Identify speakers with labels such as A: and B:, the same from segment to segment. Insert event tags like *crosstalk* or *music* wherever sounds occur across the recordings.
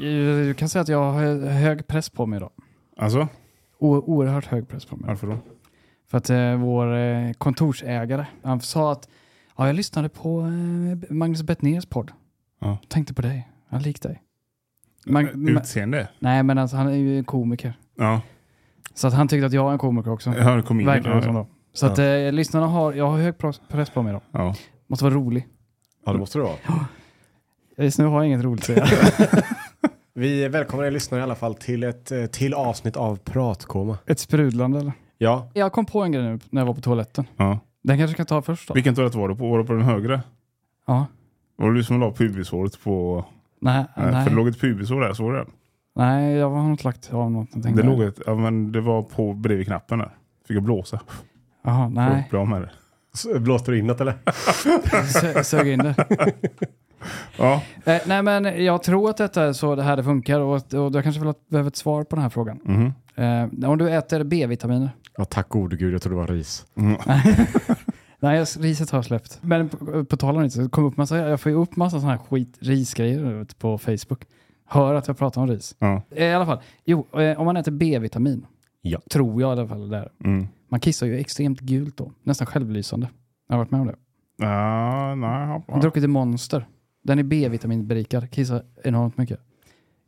A: Eh, Du kan säga att jag har hö- hög press på mig idag.
B: Alltså,
A: O- oerhört hög press på mig.
B: varför då?
A: För att eh, vår eh, kontorsägare, han sa att ja, jag lyssnade på eh, Magnus Bettners podd.
B: Ja.
A: Tänkte på dig. Han lik dig. Mag- ma-
B: Utseende?
A: nej, men alltså, han är ju en komiker.
B: Ja,
A: Så att han tyckte att jag är en komiker också.
B: jag hör kom in.
A: Verkligen som
B: ja,
A: då. Så att eh, lyssnarna har, jag har hög pros- press på mig idag.
B: ja.
A: Måste vara rolig.
C: Ja, det måste det vara.
A: Just nu har jag inget roligt att säga.
C: Vi välkomnar er lyssnare i alla fall till ett eh, till avsnitt av Pratkoma.
A: *laughs* Ett sprudlande eller?
C: Ja,
A: Jag kom på en grej nu när jag var på toaletten.
B: ja.
A: Den kanske kan ta först då?
B: Vilken toalett var du på? Var du på den högra?
A: Ja.
B: Var det du som la pubishåret på...
A: Nej,
B: Nej. För det
A: nej.
B: låg ett pubishår där, såg du det?
A: nej, jag har inte lagt av något.
B: Det låg ett, ja, men det var på bredvid knappen där. Fick jag blåsa.
A: Jaha, nej.
B: Bra med det.
C: S- blåste du inåt eller?
A: *laughs* Sö- Sög in det.
B: *laughs* Ja,
A: Eh, nej, men jag tror att detta är så det här det funkar och, att- och jag kanske vill ha, behöver ett svar på den här frågan.
B: mhm.
A: Eh, om du äter B-vitaminer?
C: Ja, tack gode gud, jag trodde det var ris.
A: Nej, jag- riset har jag släppt. Men på, på tal om ris, det kom upp massa, jag får ju upp massa sådana här skit, risgrejer du vet, på Facebook. Hör att jag pratar om ris.
B: Ja.
A: Eh, I alla fall, jo, eh, om man äter B-vitamin,
C: Ja.
A: tror jag i alla fall där.
B: Mm.
A: Man kissar ju extremt gult då, nästan självlysande. Jag har varit med om det.
B: Ja, nej.
A: Jag har druckit en Monster. Den är B-vitaminberikad. Kissar enormt mycket.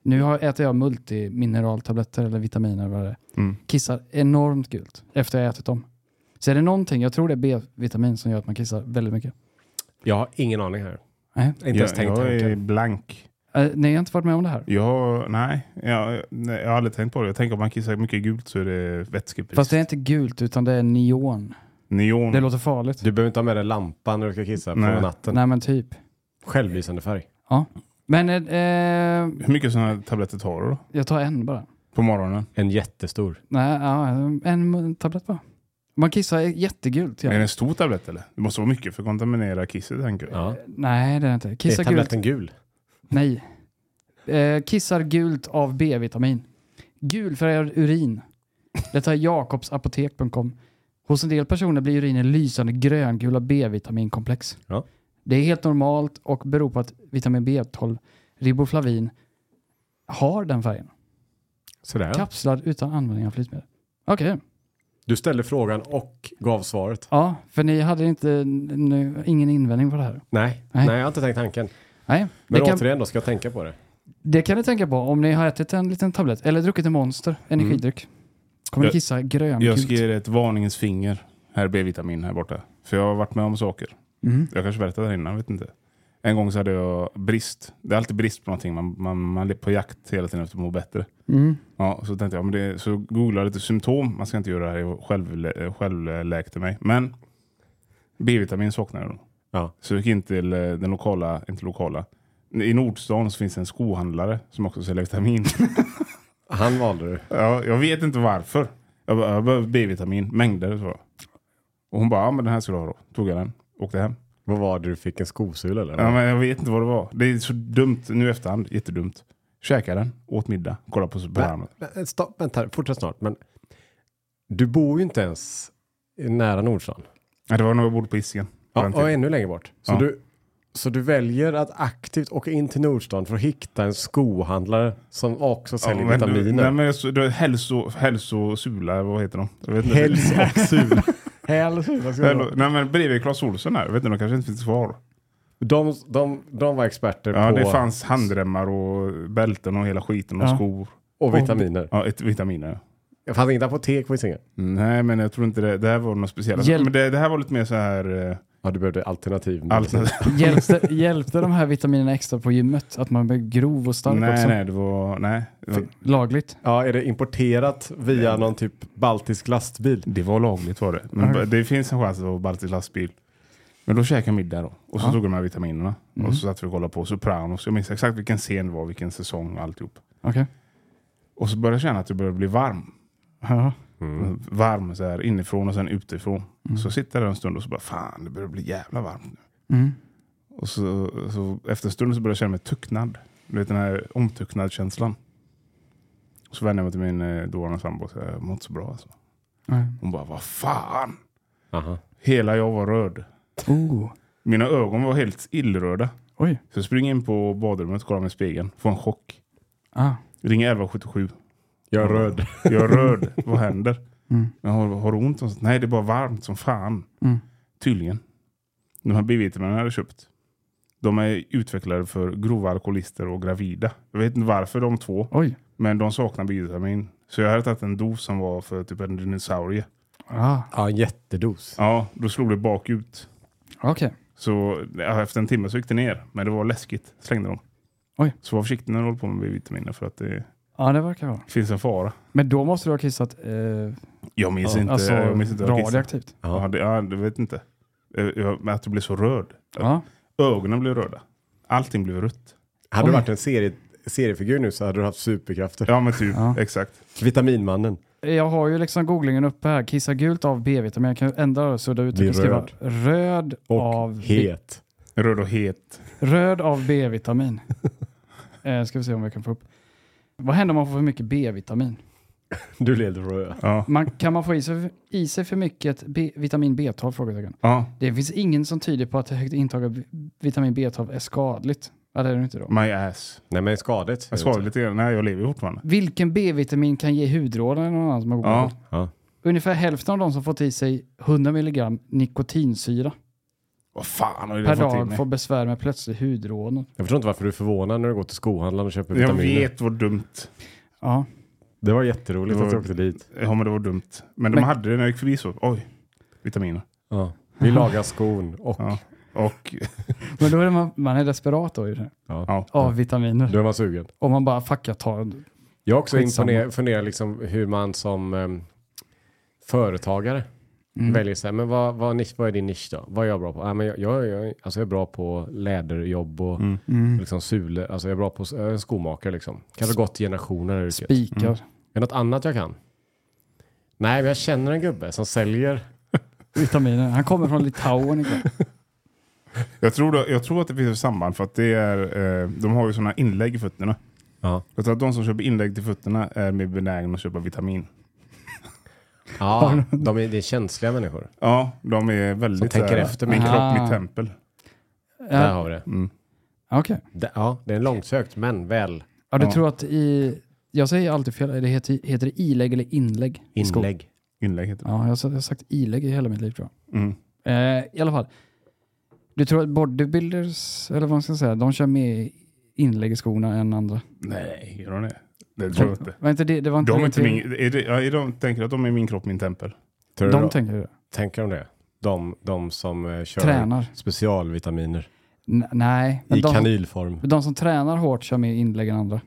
A: Nu har, äter jag multimineraltabletter eller vitaminer eller vad det är.
B: Mm.
A: Kissar enormt gult efter jag ätit dem. Så är det någonting, jag tror det är B-vitamin som gör att man kissar väldigt mycket.
C: Jag har ingen aning här.
A: Nej,
C: Inte ens
B: Jag,
C: tänkt
B: jag är
C: tanken.
B: blank.
A: Eh, nej jag har inte varit med om det här.
B: Jag, nej, jag, nej, jag har aldrig tänkt på det. Jag tänker om man kissar mycket gult så är det vätskebrist.
A: Fast det är inte gult utan det är neon.
B: Neon.
A: Det låter farligt.
C: Du behöver inte ha med dig lampan när du ska kissa på
B: Nej.
C: natten.
A: Nej men typ.
C: Självlysande färg.
A: Men eh, eh,
B: Hur mycket sådana tabletter tar du då?
A: jag tar en bara.
B: På morgonen?
C: En jättestor.
A: Nej, ja, en mun- tablett bara. Man kissar jättegult.
B: Är det
A: Ja.
B: en stor tablett eller? Det måste vara mycket för att kontaminera kisset tänker jag.
C: Ja.
A: Nej det är det inte.
C: Är
A: Kissa gult.
C: tabletten gul?
A: Nej. Eh, kissar gult av B-vitamin. Gulfärgad urin. Detta är jakobsapotek.com. Hos en del personer blir urinen lysande gröngul av B-vitaminkomplex.
C: Ja.
A: Det är helt normalt och beror på att vitamin B12, riboflavin, har den färgen.
C: Sådär. ja.
A: Kapslad utan användning av flytmedel. Okej.
C: Du ställde frågan och gav svaret.
A: Ja, för ni hade inte, n- n- ingen invändning på det här.
C: Nej,
A: Nej.
C: nej. jag har inte tänkt tanken.
A: Nej, det
C: Men
A: kan,
C: återigen då, ska jag tänka på det?
A: det kan ni tänka på om ni har ätit en liten tablett eller druckit en Monster energidryck. Kommer ni
B: Mm. Jag-
A: kissa
B: Jag
A: gröngult.
B: ska ge dig ett varningens finger. Här B-vitamin här borta. För jag har varit med om saker.
A: Mm.
B: Jag kanske berättade det innan, vet inte. En gång så hade jag brist. Det är alltid brist på någonting. Man, man, man är på jakt hela tiden efter att må bättre.
A: Mm.
B: Ja, så tänkte jag, men det, så googlade jag lite symptom. Man ska inte göra det här, jag själv, självläkte mig. Men B-vitamin saknade jag då.
C: Ja.
B: Så jag gick in till eh, den lokala, inte lokala, i Nordstan så finns det en skohandlare som också säljer vitamin.
C: Han valde du.
B: ja, jag vet inte varför. Jag, bara, jag behöver B-vitamin, mängder. Så. Och hon bara, ja men den här ska du ha då. Tog jag den, åkte hem.
C: Vad var det du fick? En skosula eller?
B: Ja, men jag vet inte vad det var. Det är så dumt nu i efterhand, jättedumt. Käkade den, åt middag, kollade på Superman.
C: Men, stopp, vänta, här, fortsätt snart. Men du bor ju inte ens nära Nordstan.
B: Nej, det var nog jag bodde på Hisingen.
C: Ja,
B: Den
C: och
B: tiden.
C: ännu längre bort. Så
B: Ja.
C: du Så du väljer att aktivt åka in till Nordstan för att hitta en skohandlare som också säljer
B: men du-
C: vitaminer.
B: Nej, men jag så- du, hälso, hälsosula, vad heter de? Jag vet inte.
C: Häls och
B: *laughs*
C: sula. Häl och sula. ska jag
B: Hälso-
C: ha.
B: Nej men bredvid Clas Ohlson här, jag vet inte, de kanske inte finns kvar.
C: De, de, de var experter
B: Ja,
C: på
B: det fanns handremmar och bälten och hela skiten och
A: Ja.
B: skor.
C: och vitaminer.
B: Ja, ett, vitaminer.
C: Det fanns inget apotek på Hisingen.
B: Nej, men jag tror inte det. Det här var något speciellt.
A: Hjälp.
B: Men det, det här var lite mer så här... Eh,
C: Ja, du behövde alternativ.
B: alternativ. *laughs*
A: Hjälpte, hjälpte de här vitaminerna extra på gymmet? Att man blir grov och stark
B: Nej,
A: också?
B: nej, det var... Nej. Det var,
A: Lagligt?
C: Ja, är det importerat via någon typ baltisk lastbil?
B: det var lagligt var det. Men
A: Okej.
B: det finns en chans att det var Baltic lastbil. Men då käkade jag middag då. Och så
A: Ja.
B: tog jag de här vitaminerna.
A: Mm.
B: Och så satt vi och kollade på Sopranos. Jag minns exakt vilken scen det var, vilken säsong och alltihop.
A: Okej.
B: Och så började jag känna att jag började bli varm. Mm.
A: Ja.
B: Varm så här inifrån och sen utifrån.
A: Mm.
B: Så sitter jag där en stund och så bara fan, det börjar bli jävla varmt nu.
A: Mm.
B: Och så, så efter en stund så började jag känna mig tucknad. Du vet den här omtucknad-känslan. Och så vände jag mig till min eh, dåvarande sambo och sa jag mår inte så bra alltså.
A: Nej.
B: Hon bara, vad fan!
C: Aha.
B: Hela jag var röd.
A: Oh.
B: Mina ögon var helt illröda.
A: Oj.
B: Så jag springer in på badrummet, kollar mig i spegeln, får en chock.
A: Ah.
B: Ringer 1177.
C: Jag är röd.
B: Jag är röd, *laughs* vad händer?
A: Mm.
B: Men har, har du ont? Och sånt? Nej, det är bara varmt som fan.
A: Mm.
B: Tydligen. De här B-vitaminerna jag hade köpt. De är utvecklade för grova alkoholister och gravida. Jag vet inte varför de två,
A: Oj.
B: men de saknar B-vitamin. Så jag hade tagit en dos som var för typ en dinosaurie.
A: Ah.
C: Ja, jättedos.
B: Ja, då slog det bakut.
A: Okej.
B: Så ja, efter en timme så gick det ner, men det var läskigt. Slängde dem.
A: Oj.
B: Så var försiktig när du håller på med B-vitaminer för att det
A: Ja, det verkar vara.
B: finns en fara.
A: Men då måste du ha kissat eh,
B: Jag minns
C: Ja,
B: inte.
A: alltså,
B: jag minns inte vad jag kissade.
A: radioaktivt?
B: Ja,
C: Ja.
B: det, ja, det vet inte. Eh, jag- Men att du blir så röd.
A: Ja.
B: Ögonen blev röda. Allting blev rött.
C: Hade du
A: Oj.
C: varit en serie, seriefigur nu så hade du haft superkrafter.
B: Ja men typ,
A: Ja.
B: exakt.
C: Vitaminmannen.
A: Jag har ju liksom googlingen uppe här. Kissa gult av B-vitamin. Jag kan ändra och sudda ut
C: Blir
A: och skriva
C: röd.
A: röd, röd,
C: Och
A: av, B-
C: het.
B: Röd och het.
A: röd av
B: *laughs*
A: B-vitamin. eh, ska vi se om vi kan få upp. Vad händer om man får för mycket B-vitamin?
C: Du leder röd.
B: Ja.
A: Man, kan man få i sig, i sig för mycket B, vitamin B12? Frågetecken.
B: ja.
A: Det finns ingen som tyder på att högt intag av vi- vitamin B12 är skadligt. Ja, det är det inte då.
B: My ass.
C: Nej, men skadligt.
B: Jag svarade lite grann. Nej, jag lever ju fortfarande.
A: Vilken B-vitamin kan ge hudrodnad eller någon annan som har
B: Ja.
A: googlat?
C: Ja.
A: Ungefär hälften av de som fått i sig 100 milligram nikotinsyra
B: Vad fan har jag
A: per
B: fått i
A: dag
B: mig?
A: får besvär med plötslig hudrodnad.
C: Jag förstår inte varför du är förvånad när du går till skohandlaren och köper
B: Jag
C: vitaminer.
B: vet vad dumt.
A: Ja.
C: Det var jätteroligt
B: Det
C: att
B: var-
C: du åkte dit.
B: Ja men det var dumt. Men de
A: Men-
B: hade det när jag gick förbi så. Oj. Vitaminer.
C: Ja. *laughs* Vi lagar skon och
B: Ja. Och
A: Men då är man, man är desperat då i det här.
C: ja.
B: ja.
A: av vitaminer.
C: då är man sugen.
A: Och man bara, fuck jag tar en.
C: Jag har också
A: Skitsamma.
C: imponer- funderat liksom hur man som ehm, företagare
A: Mm.
C: väljer sig. Men vad, vad, nisch, vad är din nisch då? Vad är jag bra på? Ja, men jag, jag, jag, alltså jag är bra på läderjobb och
B: Mm.
A: Mm.
C: liksom sulor. Alltså jag är bra på jag är en skomakare liksom. Kanske gått generationer i yrket.
B: Mm.
A: Spikar.
C: Är det något annat jag kan? Nej, men jag känner en gubbe som säljer.
B: *laughs*
A: Vitaminer. Han kommer från Litauen ikväll.
B: Jag, tror då, jag tror att det finns ett samband för att det är, eh, de har ju sådana inlägg i fötterna.
C: Ja.
B: Jag tror att de som köper inlägg till fötterna är mer benägna att köpa vitamin.
C: Ja, de är, det är känsliga människor.
B: Ja, de är väldigt...
C: Som tänker
B: så här,
C: efter
B: Min
A: mycket.
B: kropp,
A: Ah.
B: mitt tempel.
C: Där
A: Ja,
C: har vi det.
B: Mm.
A: Okej.
C: Det- Ja, det är långsökt, men väl
A: Ja, du
B: Ja.
A: tror att i... Jag säger alltid fel. Det heter, heter det ilägg eller inlägg? i skolan?
C: inlägg.
B: Inlägg heter det.
A: Ja, jag har, sagt- jag har sagt ilägg i hela mitt liv tror jag.
B: Mm.
A: Eh, I alla fall. Du tror att bodybuilders, eller vad man ska säga, de kör mer inlägg i skorna än andra?
B: Nej, gör de det? Det tror jag inte.
A: Var inte det, det var inte
B: De är
A: det
B: inte
A: till-
B: min, är det, ja, är de, tänker att de är min kropp, min tempel?
C: Tror du
A: De
C: då?
A: tänker det.
C: tänker de det? De, de som eh, kör
A: Tränar.
C: specialvitaminer
A: N- nej. Men
C: i
A: de,
C: kanylform.
A: de som tränar hårt kör mer inlägg än andra.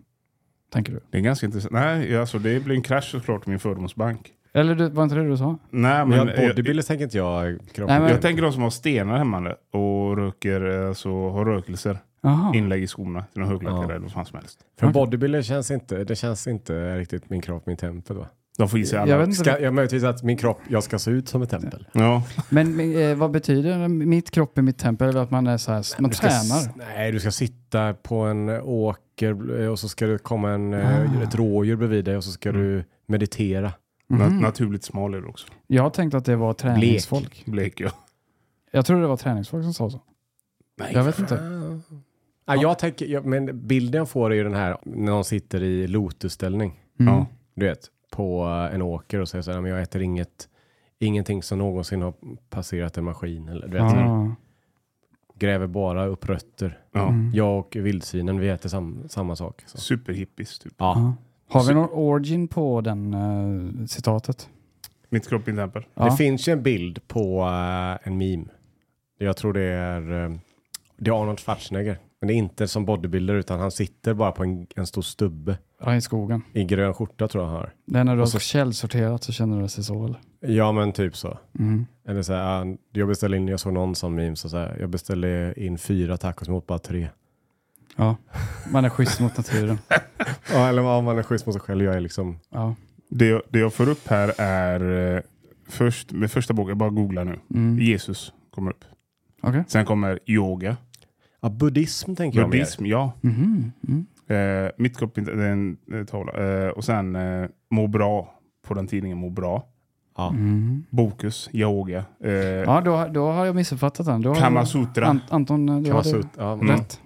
A: Tänker du?
B: Det är ganska intressant. Nej, alltså det blir en krasch såklart i min fördomsbank.
A: Eller du, var inte det du sa?
B: Nej, men
C: Men
B: jag, jag,
C: bodybuilder tänker inte jag
A: Nej,
C: kroppen.
A: men-
B: jag tänker de som har stenar hemma och röker, alltså, har rökelser,
A: Jaha.
B: inlägg i skorna till någon högklackare
C: Ja.
B: eller vad fan som helst.
C: För en bodybuilder känns inte, det känns inte riktigt min kropp, min tempel va?
B: De får i sig alla.
A: Jag vet inte,
C: Ska, jag möjligtvis att min kropp, jag ska se ut som ett tempel.
B: Ja,
A: men men, eh, vad betyder det? mitt kropp är mitt tempel? Eller att man är så här, man
C: Du ska, s-
A: tränar?
C: nej, du ska sitta på en eh, åker eh, och så ska det komma en,
A: Ah.
C: eh, ett rådjur bredvid dig och så ska du meditera.
A: Mhm.
B: na- naturligt smal är du också.
A: Jag tänkte att det var träningsfolk.
B: Blek ja.
A: Jag tror det var träningsfolk som sa så.
C: Nej,
A: Jag vet inte.
C: Ja, jag tänker, jag, men bilden jag får är ju den här när de sitter i lotusställning.
A: Mm.
B: Ja.
C: Du vet, på eh, en åker och säger så här, "Nej, men jag äter inget, ingenting som någonsin har passerat en maskin. Eller, du vet, så här,
A: Ja.
C: gräver bara upp rötter.
B: Ja.
A: Mm.
C: Jag och vildsvinen, vi äter sam, samma sak. Så.
B: Superhippies typ.
C: Ja.
A: Ja. Har vi någon origin på den eh, citatet?
B: Mitt kropp, min tempel.
A: Ja.
C: Det finns ju en bild på eh, en meme. Jag tror det är, eh, det är Arnold Schwarzenegger. Men det är inte som bodybuilder utan han sitter bara på en, en stor stubbe
A: Ja, i skogen.
C: i grön skjorta tror jag han har.
A: Det är när du har
C: Och så-
A: källsorterat så känner du sig så eller?
C: Ja men typ så.
A: Mm.
C: Eller så här, ah, jag beställde in, jag såg någon sån meme, så så här, jag beställde in fyra tacos mot bara tre.
A: Ja. Man är schysst mot naturen.
C: Ja, eller om man är schysst mot sig själv, jag är liksom,
A: Ja.
B: Det jag, det jag får upp här är eh, först, med första boken, jag bara googla nu.
A: Mm.
B: Jesus kommer upp.
A: Okej.
B: Sen kommer yoga.
C: ja buddhism tänker
B: Buddhism, ja.
A: Mhm. Mm.
B: Eh, mitt kropp, min- det är en eh, tavla. Eh, och sen eh, må bra. På den tidningen må bra.
C: jag mer. Ja.
A: Mm.
B: Bokus, yoga. Eh,
A: Ja, Mm. då, då har jag missuppfattat den. Då har
B: Kamasutra.
A: An Anton, eh, du hade
C: Kamasut, ja, men-
A: rätt.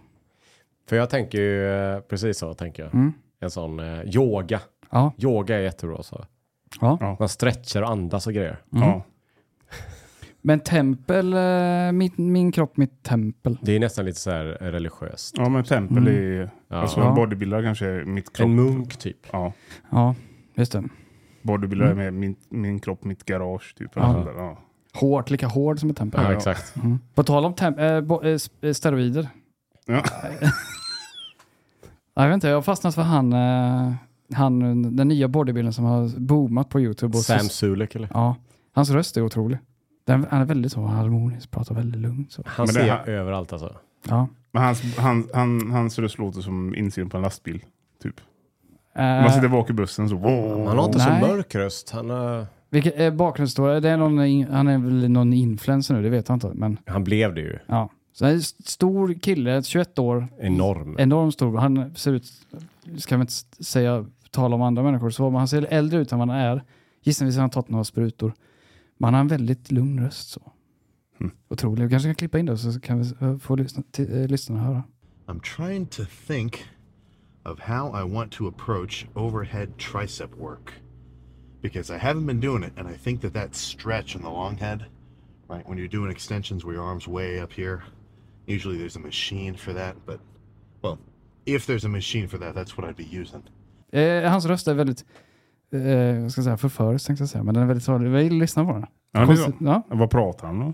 C: För jag tänker ju, eh, precis så tänker jag.
A: Mm.
C: En sån eh, yoga.
A: Ja.
C: Yoga är jättebra så.
A: Ja.
C: Man stretchar och andas och grejer.
A: Mm.
B: Ja.
A: Men tempel, eh, mitt, min kropp, mitt tempel.
C: Det är nästan lite så här eh, religiöst.
B: ja, men tempel
A: Mm.
B: är...
C: Ja.
B: Alltså
A: Ja.
B: bodybuildare kanske är mitt kropp.
C: en munk typ.
B: Ja.
A: Ja, just det.
B: Bodybuildare är med min, min kropp, mitt garage. Typ.
A: Mm. Ja.
B: Eller, ja.
A: Hårt, lika hård som ett tempel.
C: Ja,
B: Ja.
C: exakt.
A: Mm. På tal om temp- eh, bo- eh, sp- eh, steroider. *laughs*
B: Ja.
A: jag vet inte, jag har fastnat för han, eh, han, den nya bodybuildern som har boomat på YouTube. Och
C: Sam Sulek eller?
A: ja, hans röst är otrolig. Den, han är väldigt så harmonisk, pratar väldigt lugnt. Så.
C: Han
B: Men det
C: ser
B: här-
C: överallt alltså.
A: Ja.
B: Men hans, han, han, hans röst låter som insidan på en lastbil. Typ. Man
A: Eh,
B: sitter bak i bussen så...
C: Han har inte
A: Nej.
C: så mörk röst. Han, eh,
A: vilket, eh, bakgrundsstory, det är någon, in- han är väl någon influencer nu, det vet jag inte. Men
C: han blev det ju.
A: ja. Så han är en stor kille, 21 år,
C: Enorm.
A: enormt stor. Han ser ut, ska vi inte s- säga, tala om andra människor så, men han ser äldre ut än vad han är. Gissningsvis har han tagit några sprutor. Men han har en väldigt lugn röst så.
B: Mm.
A: Otrolig. Vi kanske kan klippa in det så kan vi eh, få lyssna, till, eh, lyssnarna höra.
D: I'm trying to think of how I want to approach overhead tricep work because I haven't been doing it, and I think that that stretch in the long head, right, when you're doing extensions where your arms way up here, usually there's a machine for that. But well, if there's a machine for that, that's what I'd be using.
A: Eh, hans röst är väldigt, eh, jag ska säga förförisk tänkte jag säga, men den är väldigt trevlig. Vi lyssnar på den.
B: Ja, det är bra.
A: ja,
B: Vad pratar han om?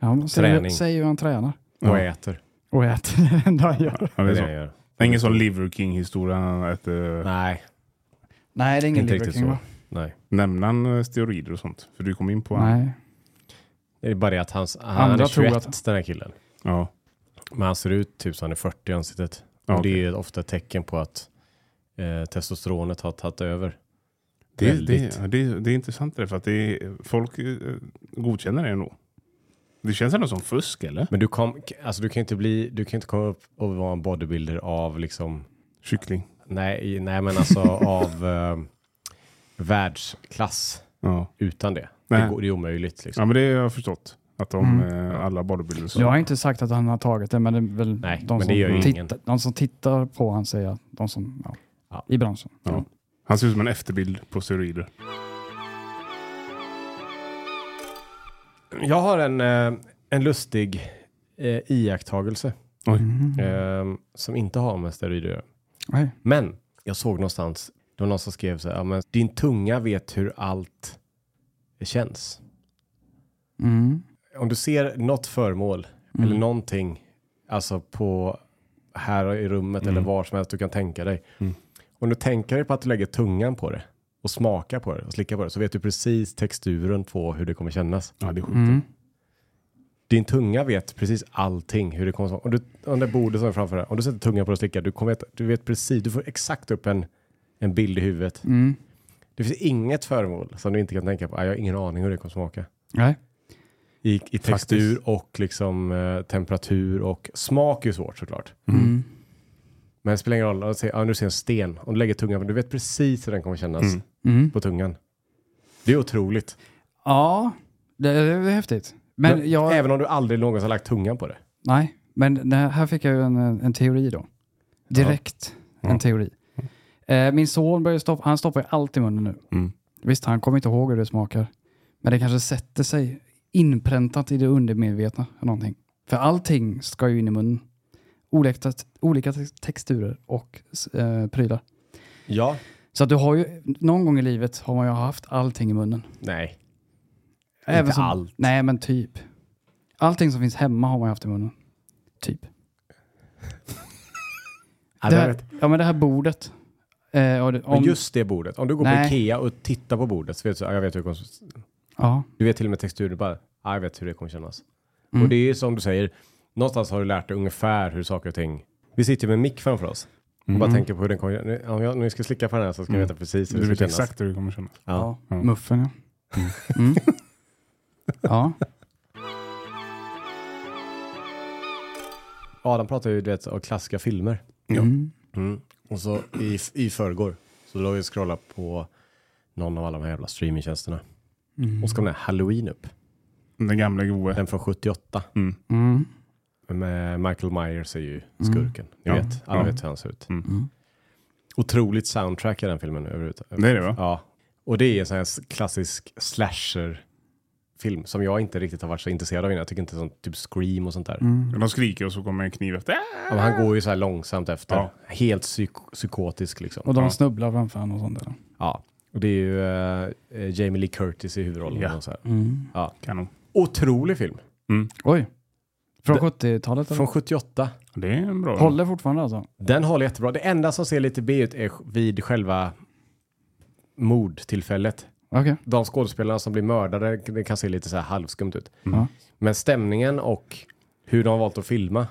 A: ja, han säger,
C: Träning.
A: säger hur han tränar.
C: Och
B: Ja.
C: äter.
A: Och äter *laughs* det enda han gör.
B: Ja, det är
C: Det är
B: så.
C: det han gör.
B: Det är Ingen sån Liver King-historia. Han äter...
C: Nej,
A: Nej, det är ingen
C: inte
A: Liver
C: riktigt
A: King,
C: så.
A: va?
C: Nej.
B: Nämner han eh, steroider och sånt? För du kom in på han.
A: Nej.
C: Det är bara det att hans, han
A: Andra
C: är
A: tror
C: 21,
A: att-
C: den här killen.
B: Ja.
C: Men han ser ut typ som han är 40 i ansiktet.
B: Ja,
C: Och
B: okej.
C: det är ofta ett tecken på att eh, testosteronet har tagit över.
B: Det,
C: Väldigt.
B: det, ja, det, det är intressant det, för att det är, folk eh, godkänner det ändå. Det känns ändå som fusk eller?
C: Men du, kom, alltså du, kan ju inte bli, du kan ju inte komma upp och vara en bodybuilder av liksom
B: Kyckling.
C: Nej, nej
B: *laughs*
C: men alltså av eh, världsklass
B: Ja.
C: utan det. Det,
B: Nej.
C: går, det är omöjligt. Liksom.
B: ja, men det har jag förstått. Att de,
A: Mm.
B: eh, alla bodybuilders...
A: Jag har inte sagt att han har tagit det, men det är väl
C: Nej,
A: de,
C: men
A: som
C: det gör ju ingen.
A: tittar, de som tittar på han säger att de som ja,
C: Ja.
A: i branschen.
B: Ja. Han ser ut som en efterbild på steroider.
C: Jag har en, eh, en lustig eh, iakttagelse
A: Mhm.
C: eh, som inte har med steroider att göra.
A: Nej.
C: Men jag såg någonstans, det var någon som skrev så här, "Ja, men din tunga vet hur allt känns.
A: Mm.
C: Om du ser något föremål eller någonting, alltså på här i rummet eller var som helst du kan tänka dig. Om du tänker dig på att du lägger tungan på det och smakar på det och slickar på det så vet du precis texturen på hur det kommer kännas.
B: Ja, det är sjukt.
A: Mm.
C: Din tunga vet precis allting hur det kommer att Om, du- om det bordet som är framför dig, om du sätter tungan på det och slickar, du, kommer veta, du vet precis, du får exakt upp en, en bild i huvudet.
A: Mm.
C: Det finns inget föremål som du inte kan tänka på. "Ah, Jag har ingen aning hur det kommer smaka.
A: Nej.
C: I, i textur och liksom, eh, temperatur och smak är ju svårt såklart.
A: Mm.
C: Men det spelar ingen roll. Om du ser, ja, nu ser jag en sten. Om du lägger tungan på du vet precis hur den kommer kännas
B: Mm.
A: Mm.
C: på tungan. Det är otroligt.
A: Ja, det är häftigt. Men jag...
C: Även om du aldrig någonsin har lagt tungan på det.
A: Nej, Men det här- här fick jag ju en, en teori då. Direkt en
B: Ja.
A: teori. Eh, min son börjar stoppa, han stoppar ju allt i munnen nu.
B: Mm.
A: Visst, han kommer inte ihåg hur det smakar. Men det kanske sätter sig inpräntat i det undermedvetna. Eller någonting. För allting ska ju in i munnen. Olika, olika tex- texturer och eh, prylar.
C: Ja.
A: Så att du har ju, någon gång i livet har man ju haft allting i munnen.
C: Nej.
A: Även
C: Inte
A: som,
C: allt.
A: Nej, men typ. Allting som finns hemma har man ju haft i munnen. Typ.
C: Ja,
A: det
C: men jag
A: här,
C: vet.
A: ja, men det här bordet. Eh, och det, om,
C: Alltså, Men just det bordet. Om du går
A: Nej.
C: på Ikea och tittar på bordet så vet du, ja, jag vet hur det kommer,
A: ja,
C: du vet till och med texturen bara, ja, jag vet hur det kommer kännas.
A: Mm.
C: Och det är ju som du säger, någonstans har du lärt dig ungefär hur saker och ting, vi sitter ju med en mick framför oss. Och
A: Mm.
C: bara tänker på hur den kommer, nu- om jag nu ska slicka på den här så ska jag
B: Mm.
C: veta precis hur
B: Du
C: det
B: vet
C: ska kännas.
B: exakt hur det kommer kännas.
C: Ja.
A: ja. muffen ja. Mm. ja.
C: Adam pratar ju du vet, om klassiska filmer.
A: Mm.
C: Mm. Och så i, i förrgår så låg jag och scrollade på någon av alla de här jävla streamingtjänsterna.
A: Mm.
C: Och så kom den här Halloween upp.
B: Den gamla gode.
C: Den från 78.
B: Mm.
A: Mm.
C: Med Michael Myers är ju skurken. Ni
B: Ja.
C: vet, alla
B: Ja.
C: vet hur han ser ut.
B: Mm.
A: Mm.
C: Otroligt soundtrack i den filmen överhuvudtaget.
B: Det är det va?
C: Ja. Och det är en sån här klassisk slasher-film som jag inte riktigt har varit så intresserad av innan. Jag tycker inte sånt typ Scream och sånt där.
A: Mm.
B: Mm. De skriker och så kommer en kniv efter. Ah!
C: Ja, men han går ju så här långsamt efter.
B: Ja.
C: Helt psyk- psykotisk liksom.
A: Och de
B: Ja.
A: snubblar framför honom och sånt där.
C: Ja, och det är ju eh, eh, Jamie Lee Curtis i huvudrollen.
B: Ja.
C: Och så här.
A: Mm.
B: Kanon.
C: Otrolig film.
A: Oj. Från
C: Det-
A: 70-talet? eller?
C: Från 78.
B: Det är en bra.
A: Håller fortfarande alltså?
C: Den håller jättebra. Det enda som ser lite B ut är sj- vid själva mordtillfället.
A: Okej.
C: De skådespelarna som blir mördade, det kan se lite så här halvskumt ut.
A: Ja.
C: Men stämningen och hur de har valt att filma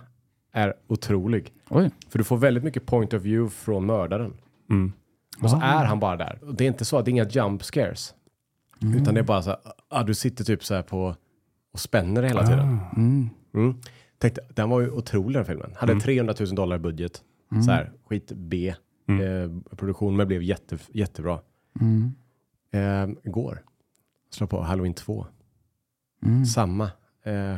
C: är otrolig.
A: Oj.
C: För du får väldigt mycket point of view från mördaren.
B: Mm.
C: Och så
A: Ah.
C: är han bara där. Och det är inte så att det är inga jump scares.
A: Mm.
C: Utan det är bara så här, ah, du sitter typ så här på och spänner hela tiden.
A: Mm.
C: Mm. Tänkte, den var ju otrolig den filmen. Hade 300 000 dollar i budget.
A: Mm.
C: Så här, skit B. Eh, produktion, men blev jätte, jättebra.
A: Mm.
C: Eh, igår, slå på Halloween 2.
A: Mm.
C: Samma eh,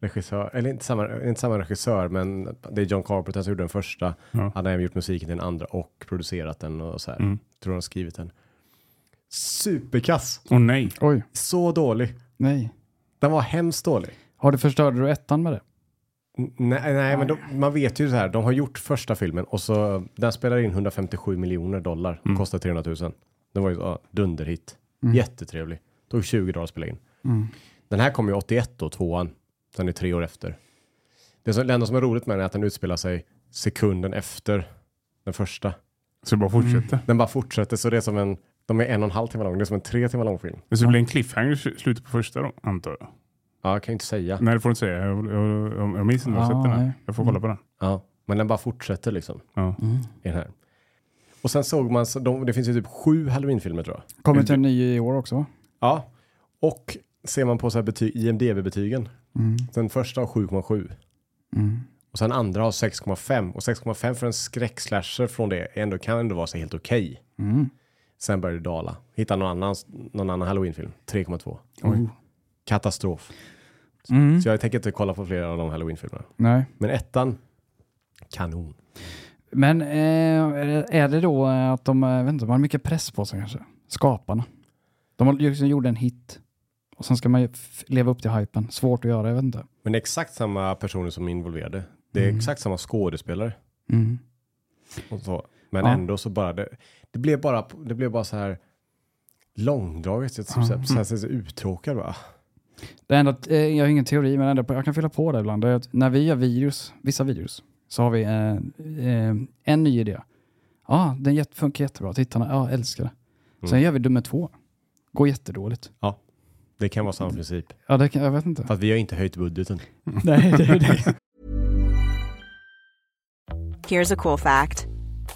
C: regissör, eller inte samma, inte samma regissör, men det är John Carpenter som gjorde den första.
B: Ja.
C: Han har även gjort musiken till den andra och producerat den och så här.
B: Mm.
C: Tror han har skrivit den. Superkass!
B: Åh nej.
A: Oj.
C: Så dålig.
A: Nej.
C: Den var hemskt dålig.
A: Har du förstörde du ettan med det?
C: N- Nej, nej men de, man vet ju så här. De har gjort första filmen och så den spelar in 157 miljoner dollar. Kostar 300 000. Den var ju ja, dunderhit. Jättetrevlig. Tog 20 dagar att spela in. Den här kom ju 81 då, tvåan. Den är tre år efter. Det, som, det enda som är roligt med den är att den utspelar sig sekunden efter den första.
B: Så det bara
A: Mm.
B: fortsätter.
C: Den bara fortsätter så det är som en, de är en och en halv timme lång. Det är som en tre timmar lång film.
B: Men Så det blir en cliffhanger i slutet på första då, antar jag.
C: Ja, jag kan ju inte säga.
B: Nej, det får du inte säga. Jag, jag, jag, jag minns inte om jag
A: Ah,
B: har sett den
A: nej. Mm.
B: här. Jag får kolla på den.
C: Ja, men den bara fortsätter liksom.
B: Ja.
C: I den här. Och sen såg man, så de, det finns ju typ sju Halloween-filmer tror jag.
A: Kommer till en ny i år också va?
C: Ja, och ser man på så här betyg, IMDB-betygen.
A: Mm.
C: Den första har 7,7. Och sen andra har 6,5. Och 6,5 för en skräckslasher från det är ändå, kan ändå vara så helt okej.
A: Mm.
C: Sen börjar det dala. Hitta någon annan, någon annan Halloween-film. 3,2.
A: Oj.
C: Katastrof.
A: Mm.
C: Så jag tänker inte kolla på flera av de Halloween-filmerna.
A: Nej.
C: Men ettan, kanon.
A: Men eh, är det- är det då eh, att de, eh, jag vet inte, de har mycket press på sig kanske? Skaparna. De har liksom gjort en hit. Och sen ska man ju f- leva upp till hypen. Svårt att göra, jag vet inte.
C: Men det är exakt samma personer som är involverade. Det är exakt samma skådespelare.
A: Mm.
C: Och så. Men
A: Ja.
C: ändå så bara det, det blev bara, det blev bara så här långdraget. Jag typ så här, så här, så här, så uttråkad bara.
A: Det enda, eh, jag har ingen teori, men ändå, jag kan fylla på det ibland. Det är att när vi gör videos, vissa videos, så har vi eh, eh, en ny idé. Ja, ah, den jätte- funkar jättebra. Tittarna, ja, älskar det.
C: Mm.
A: Sen gör vi nummer två. Går jättedåligt.
C: Ja, det kan vara samma princip.
A: Ja, det kan, jag vet inte.
C: För att vi har inte höjt budgeten.
A: *laughs* Nej, det är
C: *laughs*
A: det.
E: Here's a cool fact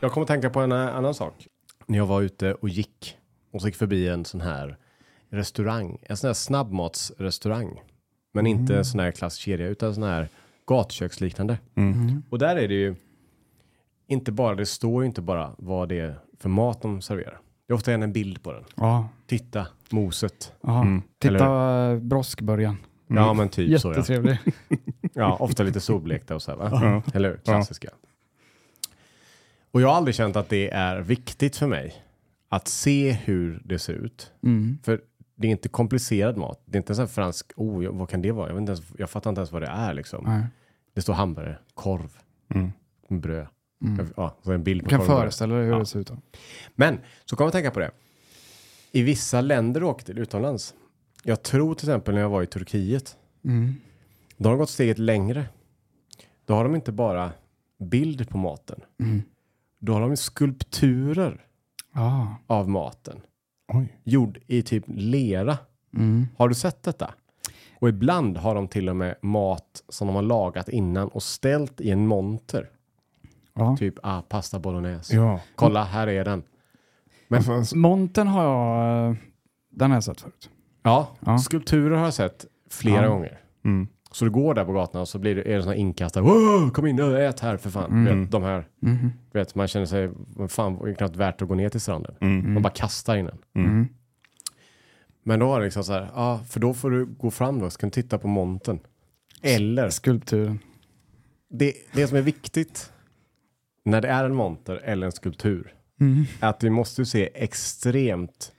C: Jag kommer att tänka på en eh, annan sak. När jag var ute och gick och så gick förbi en sån här restaurang, en sån här snabbmatsrestaurang. Men inte en sån här klassisk kedja utan sån här gatuköksliknande. Och där är det ju inte bara, det står ju inte bara vad det är för mat de serverar. Det är ofta en bild på den.
A: Ja.
C: Titta, moset.
A: Aha.
B: Mm.
A: Titta eh, broskbörjan.
C: Ja men typ så ja. *laughs*
A: Jättetrevlig.
C: Ja, ofta lite solblekta och så här, va? Mm.
B: Ja.
C: Eller hur? Klassiska. Och jag har aldrig känt att det är viktigt för mig att se hur det ser ut.
A: Mm.
C: För det är inte komplicerad mat. Det är inte så här fransk, oh, jag- vad kan det vara? Jag, vet inte ens, jag fattar inte ens vad det är liksom.
A: Nej.
C: Det står hamburgare, korv,
B: Mm.
C: bröd.
A: Mm.
C: Jag- Ja, så en bild
A: Du
C: på
A: kan
C: korv och bröd.
A: föreställa dig hur
C: Ja.
A: det ser ut. då.
C: Men så kommer jag att tänka på det. I vissa länder du åker till utomlands. Jag tror till exempel när jag var i Turkiet.
A: Mm.
C: Då har de gått steget längre. Då har de inte bara bild på maten.
A: Mm.
C: Då har de skulpturer
A: Ja.
C: av maten.
B: Oj.
C: Gjord i typ lera.
A: Mm.
C: Har du sett detta? Och ibland har de till och med mat som de har lagat innan och ställt i en monter.
A: Ja.
C: Typ ah, pasta bolognese.
B: Ja.
C: Kolla, här är den. Men-
B: Alltså, alltså,
A: Monten har jag... eh, Den har jag sett förut.
C: Ja,
A: Ja.
C: skulpturer har jag sett flera
A: Ja.
C: gånger.
B: mm.
C: Så du går där på gatan och så blir det, är det såna inkastare. Wow, kom in, ö, ät här för fan.
A: Mm.
C: Du Vet, de här,
A: Mhm.
C: du vet, man känner sig, "Vad fan det är knappt värt att gå ner till stranden.
A: Mm-hmm.
B: Mm.
C: Man bara kastar in den.
A: Mm.
C: Men då var det liksom så här, ja, för då får du gå fram då, så kan du titta på monten. Eller,
A: Skulpturen.
C: det, det som är viktigt när det är en monter eller en skulptur,
A: Mm.
C: är att vi måste ju se extremt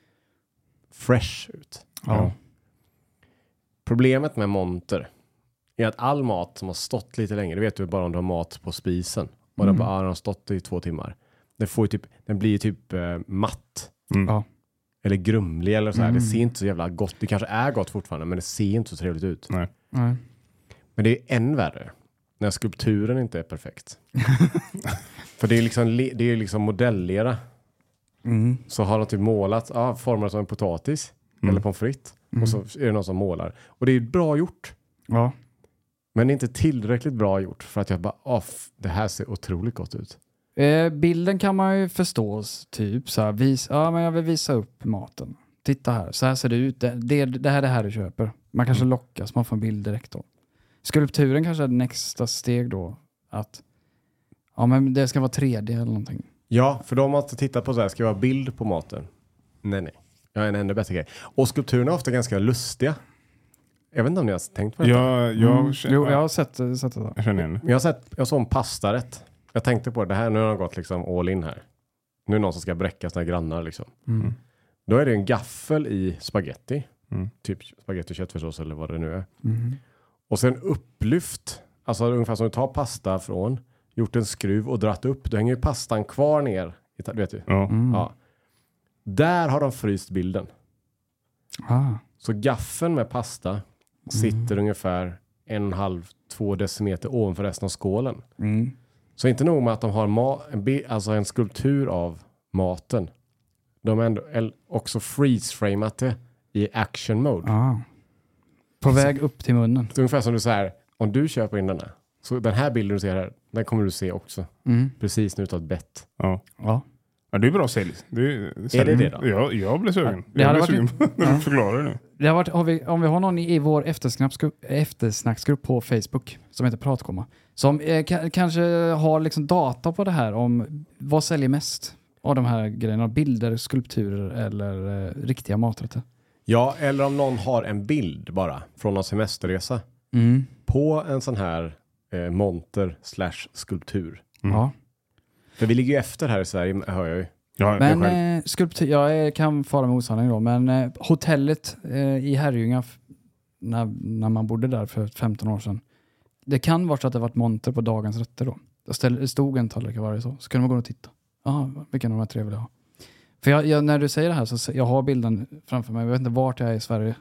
C: fresh ut.
A: Ja.
C: Problemet med monter är att all mat som har stått lite längre, det vet du bara om du har mat på spisen. Och
A: Mm.
C: den bara, ah, den har stått i två timmar. Den, får ju typ, den blir ju typ eh, matt.
A: Ja. Mm.
C: Eller grumlig eller så här. Det ser inte så jävla gott. Det kanske är gott fortfarande, men det ser inte så trevligt ut.
B: Nej.
A: Nej.
C: Men det är än värre när skulpturen inte är perfekt. *laughs* För det är liksom, le- det är liksom modellera.
A: Mm.
C: Så har de typ målat, ah, format som en potatis eller pommes frites. Och så är det någon som målar. Och det är ju bra gjort.
A: Ja.
C: Men det är inte tillräckligt bra gjort för att jag bara, oh, det här ser otroligt gott ut.
A: Eh, bilden kan man ju förstå, s- typ så här, vis, ja, men jag vill visa upp maten. Titta här, så här ser det ut. Det, det, det här är det här du köper. Man kanske lockas, man får en bild direkt då. Skulpturen kanske är nästa steg då, att ja, men det ska vara 3D eller någonting.
C: Ja, för de har inte tittat på så här, ska jag ha bild på maten? Nej, nej. Jag har en ännu bättre grej. Och skulpturerna är ofta ganska lustiga. Jag vet inte om ni har tänkt på det.
B: Jag, jag, känner,
A: Mm. Jo, jag har sett, sett det. Där.
B: jag känner igen det.
C: Men Jag, har sett, jag såg en pastarätt. Jag tänkte på det här, nu har de gått liksom all in här. Nu är det någon som ska bräcka sina grannar liksom.
A: Mm.
C: Då är det en gaffel i spaghetti.
B: Mm.
C: Typ spagetti och köttfärssås eller vad det nu är.
A: Mm.
C: Och sen upplyft, alltså ungefär som du tar pasta från, gjort en skruv och dratt upp, då hänger ju pastan kvar ner. i ta- Du vet ju.
B: Ja.
A: Mm.
C: Ja. Där har de fryst bilden.
A: Ah.
C: Så gaffeln med pasta sitter ungefär en och en halv, två decimeter ovanför resten av skålen.
A: Mm.
C: Så inte nog med att de har ma- en, bi- alltså en skulptur av maten. De har ändå el- också freeze-framat det i action mode.
A: Ah. På väg upp till munnen.
C: Så ungefär som du så här, om du köper in denna, så den här bilden du ser här, den kommer du se också.
A: Mm.
C: Precis när du tar ett bett.
B: Ja.
A: Ja.
B: ja, det är bra sälj. Det är,
C: det det då?
B: Jag, jag blev sugen.
A: det
B: jag
A: hade
B: blev
A: varit-
B: sugen *laughs* på när
A: Ja.
B: du förklarar det nu.
A: Det har varit, har vi, om vi har någon i vår eftersnacksgrupp, eftersnacksgrupp på Facebook som heter Pratkomma, som eh, ka, kanske har liksom data på det här om vad säljer mest av de här grejerna, bilder, skulpturer eller eh, riktiga maträtter.
C: Ja, eller om någon har en bild bara från någon semesterresa
A: Mm.
C: på en sån här eh, monter slash skulptur.
B: Mm.
A: Ja.
C: För vi ligger ju efter här i Sverige, hör jag ju.
B: Ja, jag
A: Men
B: själv.
A: eh, skulptur, jag eh, kan fara med osanning då, men eh, hotellet eh, i Herrljunga f- när, när man bodde där för 15 år sedan. Det kan vara så att det varit monter på dagens rätter då. Det ställ- Det stod en tallrik i varje så, så kunde man gå och titta. Jaha, vilken av de här tre vill jag ha? För jag, jag, när du säger det här så se- jag har bilden framför mig. Jag vet inte vart jag är i Sverige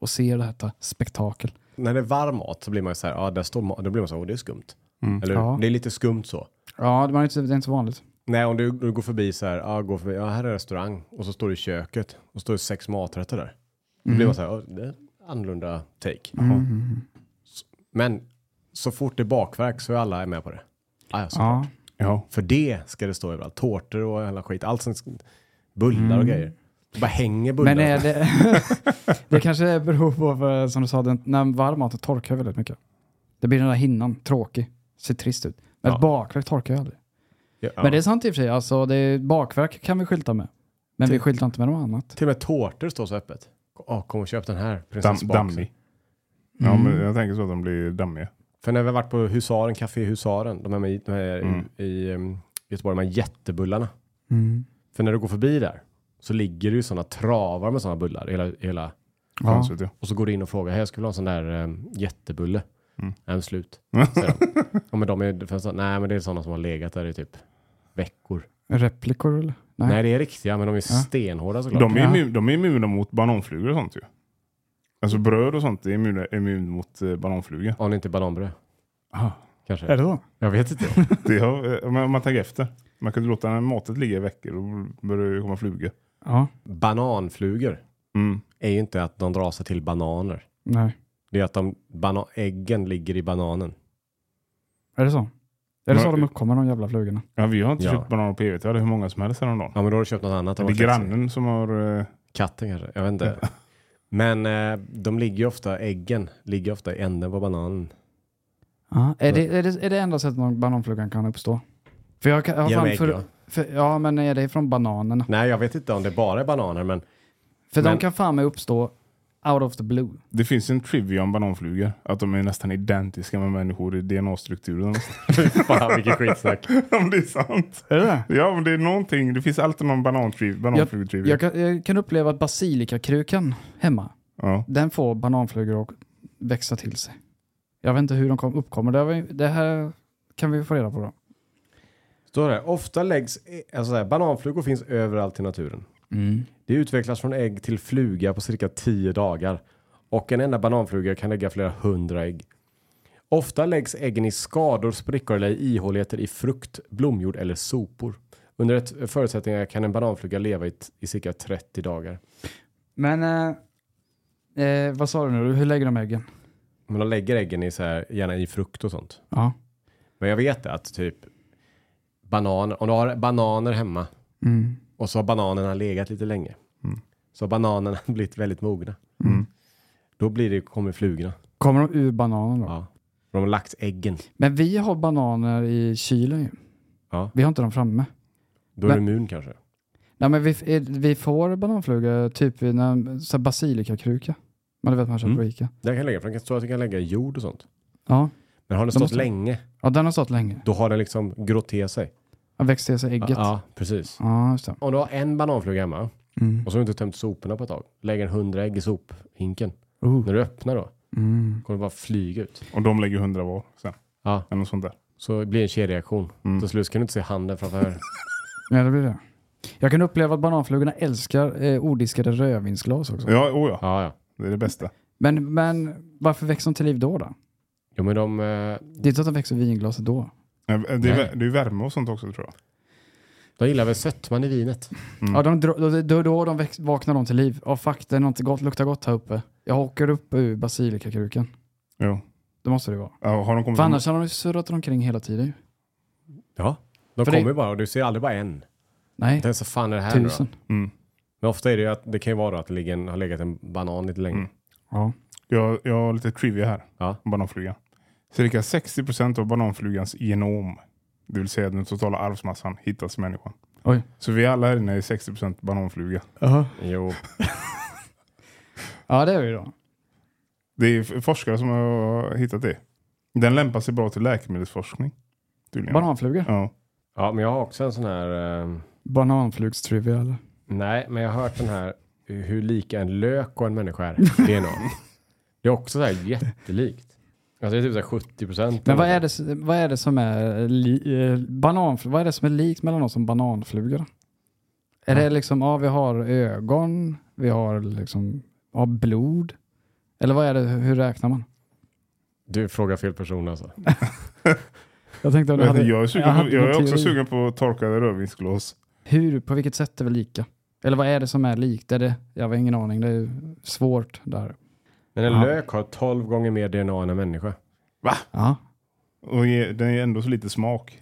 A: och ser detta spektakel.
C: När det är varm mat så blir man ju så här, ja, där står mat. Då blir man så här, åh, det är skumt.
B: Mm.
C: Eller
A: Ja.
C: hur? Det är lite skumt så.
A: Ja, det, var inte, det är inte så vanligt.
C: Nej, om du, du går förbi så här, ja, går förbi, ja, här är restaurang och så står du i köket och står det sex maträtter där. Då blir man så här, ja, det är en annorlunda take.
A: Mm.
C: S- Men så fort det är bakverk så är alla med på det. Ah, ja, såklart.
A: Ja.
B: Ja.
C: För det ska det stå överallt. Tårtor och hela skit. Allt som, bullar och grejer. Det bara hänger bullar.
A: Mm. Men är det, det *laughs* kanske beror på, för, som du sa, den, när varm mat torkar väldigt mycket. Det blir den där hinnan, tråkig, ser trist ut. Men
C: Ja.
A: ett bakverk torkar ju aldrig.
C: ja,
A: Men det är sant i och för sig, alltså, det är, bakverk kan vi skylta med. Men vi
C: Typ.
A: skyltar inte med något annat.
C: Till och med tårtor står så öppet. Ah, kom och köp den här.
B: Dam,
C: prinsessbakelsen.
B: dammig. Ja, men jag tänker så att de blir dammiga.
C: För när vi har varit på Husaren, Café Husaren, de här, med, de här
B: Mm.
C: i, i um, Göteborg, de här jättebullarna.
A: Mm.
C: För när du går förbi där så ligger det ju sådana travar med sådana bullar hela, hela.
A: Ja.
B: Konstigt, ja.
C: Och så går du in och frågar, hej jag skulle vilja ha en sån där um, jättebulle.
B: Mm.
C: Nej,
B: *laughs*
C: men slut. säger de. ja, men de är, det finns så- nej, men det är sådana som har legat där i typ veckor.
A: Replikor eller? Nej.
C: Nej, det är riktiga, men de är
A: Ja.
C: stenhårda såklart.
B: De är,
A: Ja.
B: immun, de är immuna mot bananflugor och sånt ju. Alltså bröd och sånt är immun, immun mot eh, bananfluga.
C: Om det inte är bananbröd,
B: Ah.
C: kanske.
A: Är det så?
C: Jag vet inte.
B: Det har, eh, men om man tänker efter. Man kan inte låta matet ligga i veckor och börjar det komma flugor.
A: Ja.
C: Bananflugor
B: Mm.
C: är ju inte att de drar sig till bananer.
A: Nej.
C: Det är att de, bana, äggen ligger i bananen.
A: Är det så? Är det så
B: Men-
A: de uppkommer, de jävla flugorna?
B: Ja, vi har inte
C: Ja.
B: köpt bananer på evigt. Vi hade hur många som helst häromdagen.
C: Ja, men då har du köpt något annat.
B: Det
C: än
B: är
C: vad det finns i.
B: grannen som har... eh,
C: Katten kanske, jag vet inte.
B: *laughs*
C: Men eh, de ligger ju ofta, äggen ligger ofta i änden på bananen.
A: Ja. Är, det, är, det, är det enda sättet någon bananflugan kan uppstå? För jag, kan- jag har
C: Genom
A: fan
C: ägg,
A: för,
C: ja.
A: för, ja, men är det från bananerna?
C: Nej, jag vet inte om det bara är bananer, men *laughs*
A: För
C: Men-
A: de kan fan med uppstå out of the blue.
B: Det finns en trivia om bananflugor. Att de är nästan identiska med människor i DNA-strukturen. *laughs*
C: fan vilket skitsnack.
B: om det är sant.
A: Är det det?
B: Ja, men det är någonting. Det finns alltid någon banantriv, bananflugetrivia.
A: Jag kan, jag kan uppleva att basilikakrukan hemma,
B: Ja.
A: den får bananflugor att växa till sig. Jag vet inte hur de kom, uppkommer. Det, har vi, det här kan vi få reda på då.
C: Står det här, ofta läggs, alltså så här, bananflugor finns överallt i naturen. Det utvecklas från ägg till fluga på cirka 10 dagar. Och en enda bananfluga kan lägga flera hundra ägg. Ofta läggs äggen i skador, sprickor eller ihåligheter i frukt, blomjord eller sopor. Under ett förutsättningar kan en bananfluga leva i, t- i cirka 30 dagar.
A: Men eh, eh, vad sa du nu? Hur lägger de äggen?
C: Men de lägger äggen i så här, gärna i frukt och sånt.
A: Ja.
C: Men jag vet att typ bananer, om du har bananer hemma
A: Mm.
C: och så har bananerna legat lite länge. Så har bananerna *laughs* blivit väldigt mogna.
B: Mm.
C: Då blir det, kommer flugorna.
A: Kommer de ur bananen då?
C: Ja. De har lagt äggen.
A: Men vi har bananer i kylen ju.
C: Ja.
A: Vi har inte dem framme.
C: Då är
A: Men-
C: du immun kanske.
A: Nej, men vi, eh, vi får bananflugor typ i en så här basilikakruka. Men du vet man köper på
C: Mm.
A: Ica.
C: Den kan lägga, för den kan stå att du kan lägga i jord och sånt.
A: Ja.
C: Men har den
A: De
C: stått
A: måste-
C: länge,
A: ja, den har stått länge.
C: då har den liksom grott till sig.
A: Den växt till sig ägget.
C: Ja, precis.
A: Ja, just det.
C: Om du har en bananfluga hemma
A: Mm.
C: och så har du inte tömt soporna på ett tag. Lägger en hundra ägg i sophinken.
A: Oh.
C: När du öppnar då,
A: Mm.
C: kommer det bara flyga ut.
B: Och de lägger hundra var sen.
C: Ja.
B: Eller något sånt där.
C: Så det blir en kedjereaktion.
B: Mm.
C: Till slut kan du inte se handen framför.
A: Ja, det blir det. Jag kan uppleva att bananflugorna älskar eh, odiskade rödvinsglas också.
B: Ja, oh ja.
C: ja, ja.
B: Det är det bästa.
A: Men, men varför växer de till liv då? då?
C: Jo, men de... eh,
A: Det är inte så att de växer i vinglaset då.
B: Det är, eh, det är ju värme och sånt också tror jag.
C: De gillar väl sötman i vinet.
B: Mm.
A: Ja, de, dro- då, då, då de väx, vaknar de till liv. Ja, fuck, det är något gott, luktar gott här uppe. Jag åker upp ur basilikakrukan.
B: Jo.
A: Det måste det vara.
B: Ja, har de kommit
A: För annars har de ju surrat omkring hela tiden ju.
C: Ja. De
A: För det-
C: kommer ju bara och du ser aldrig bara en.
A: Nej,
C: Inte ens så fan är det här nu då?
A: tusen.
B: Mm.
C: Men ofta är det ju att det kan ju vara då att det ligger en, har legat en banan lite länge.
B: Mm.
A: Ja.
B: Jag, jag har lite trivia här
C: Ja.
B: om bananflugan. Cirka 60 av bananflugans genom, det vill säga den totala arvsmassan, hittas i människan.
A: Oj.
B: Så vi alla här inne är 60 bananfluga.
C: Jo.
A: Ja, det är vi då.
B: Det är f- forskare som har hittat det. Den lämpar sig bra till läkemedelsforskning. Tydligen.
A: Bananflugor?
B: Ja.
C: Ja, men jag har också en sån här... ehm,
A: Bananflugstrivia eller?
C: nej, men jag har hört den här hur lika en lök och en människa är. Det är nog. Det är också så här jättelikt. Alltså det är typ så här 70 procent.
A: Men vad är, det, s- vad är det som är li, eh, banan, vad är det som är likt mellan oss som bananflugor? Är det liksom, ja vi har ögon, vi har liksom, ja blod. Eller vad är det, hur räknar man?
C: Du frågar fel person alltså.
A: Jag tänkte om du
B: Jag,
A: hade,
B: vet, jag är, sugen
A: jag
B: på,
A: hade
B: jag
A: någon
B: är också
A: teori.
B: sugen på torkade rödvinsglas.
A: Hur, på vilket sätt är vi lika? Eller vad är det som är likt? Är det, jag har ingen aning, det är svårt där.
C: Men en
A: Ja.
C: lök har 12 gånger mer DNA än en människa.
A: Ja,
B: Och ge, den ger ändå så lite smak.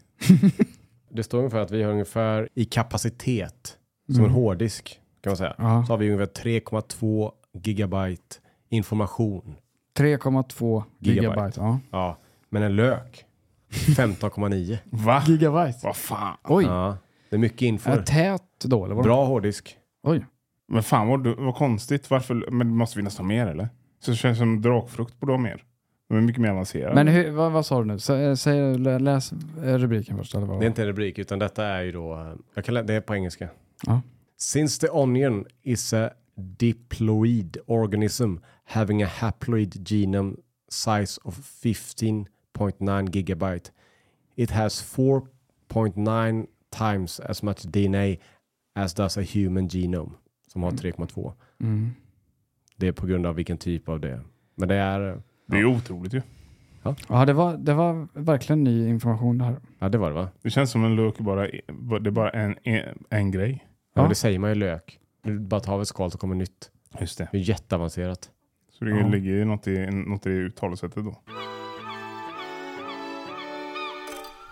C: Det står ungefär att vi har ungefär i kapacitet som en hårddisk kan man säga.
A: Mm. ja.
C: Så har vi ungefär 3,2 gigabyte information.
A: 3,2 gigabyte.
C: Gigabyte.
A: Ja.
C: Ja, men en lök 15,9.
B: Va?
A: Gigabyte?
B: Vad fan?
A: Oj,
C: Ja, det är mycket info.
A: är tät då eller? vad?
C: Bra hårddisk.
A: Oj.
B: Men fan vad, du- vad konstigt. Varför? Men måste vi nästan ha mer eller? Så det känns som drakfrukt borde ha mer. De är mycket mer avancerade.
A: Men hur, vad, vad sa du nu? Sä- Säg, lä- läs eh, rubriken först. Eller vad?
C: Det är inte en rubrik, utan detta är ju då... eh, Jag kan, lä- det är på engelska.
A: Ja.
C: Since the onion is a diploid organism having a haploid genome size of 15.9 gigabyte, it has 4.9 times as much DNA as does a human genome, som har 3,2.
A: Mm.
C: Det är på grund av vilken typ av det. Men det är... eh,
B: Det är ju otroligt ju.
A: Ja, det var, det var verkligen ny information det här.
C: Ja, det var det va?
B: Det känns som en lök bara, det är bara en, en, en grej.
C: Ja.
A: Ja.
C: Men det säger man ju lök. Du bara tar av ett skal så kommer nytt.
B: Just det.
C: Det är jätteavancerat.
B: Så det
A: Ja.
B: ligger ju något i, något i uttalesättet då.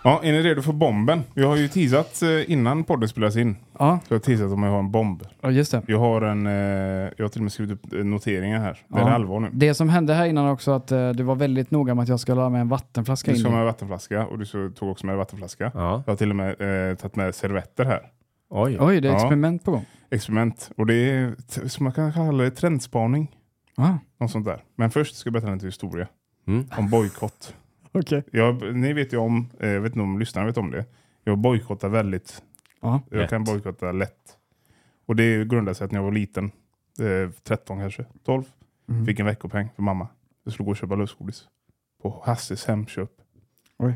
B: Ja, är ni redo för bomben? Jag har ju teasat eh, innan podden spelas in.
A: Ja,
B: Så jag har teasat om jag har en bomb.
A: ja, just det.
B: Jag har en, eh, jag har till och med skrivit upp eh, noteringar här. Det
A: Ja.
B: är allvar nu.
A: Det som hände här innan också att eh, du var väldigt noga med att jag skulle ha med en vattenflaska
B: Du
A: in.
B: ska med
A: i.
B: en vattenflaska och du så- tog också med en vattenflaska.
C: Ja.
B: Jag har till och med eh, tagit med servetter här.
C: Oj.
A: Oj, det är
B: Ja.
A: experiment på gång.
B: Experiment. Och det är, t- som man kan kalla det, trendspaning.
A: Ja,
B: Något sånt där. Men först ska jag berätta en liten historia
C: Ah. Mm.
B: om bojkott.
A: okej.
B: Jag, ni vet ju om, eh, jag vet inte om lyssnarna vet om det. Jag bojkottar väldigt.
A: Ja.
B: Jag
C: Ah. Lätt.
B: kan bojkotta lätt. Och det grundar sig att när jag var liten, eh, 13 kanske, 12,
A: Mm.
B: fick en veckopeng för mamma. Jag skulle gå och köpa lösgodis. På Hasses Hemköp.
A: Oj.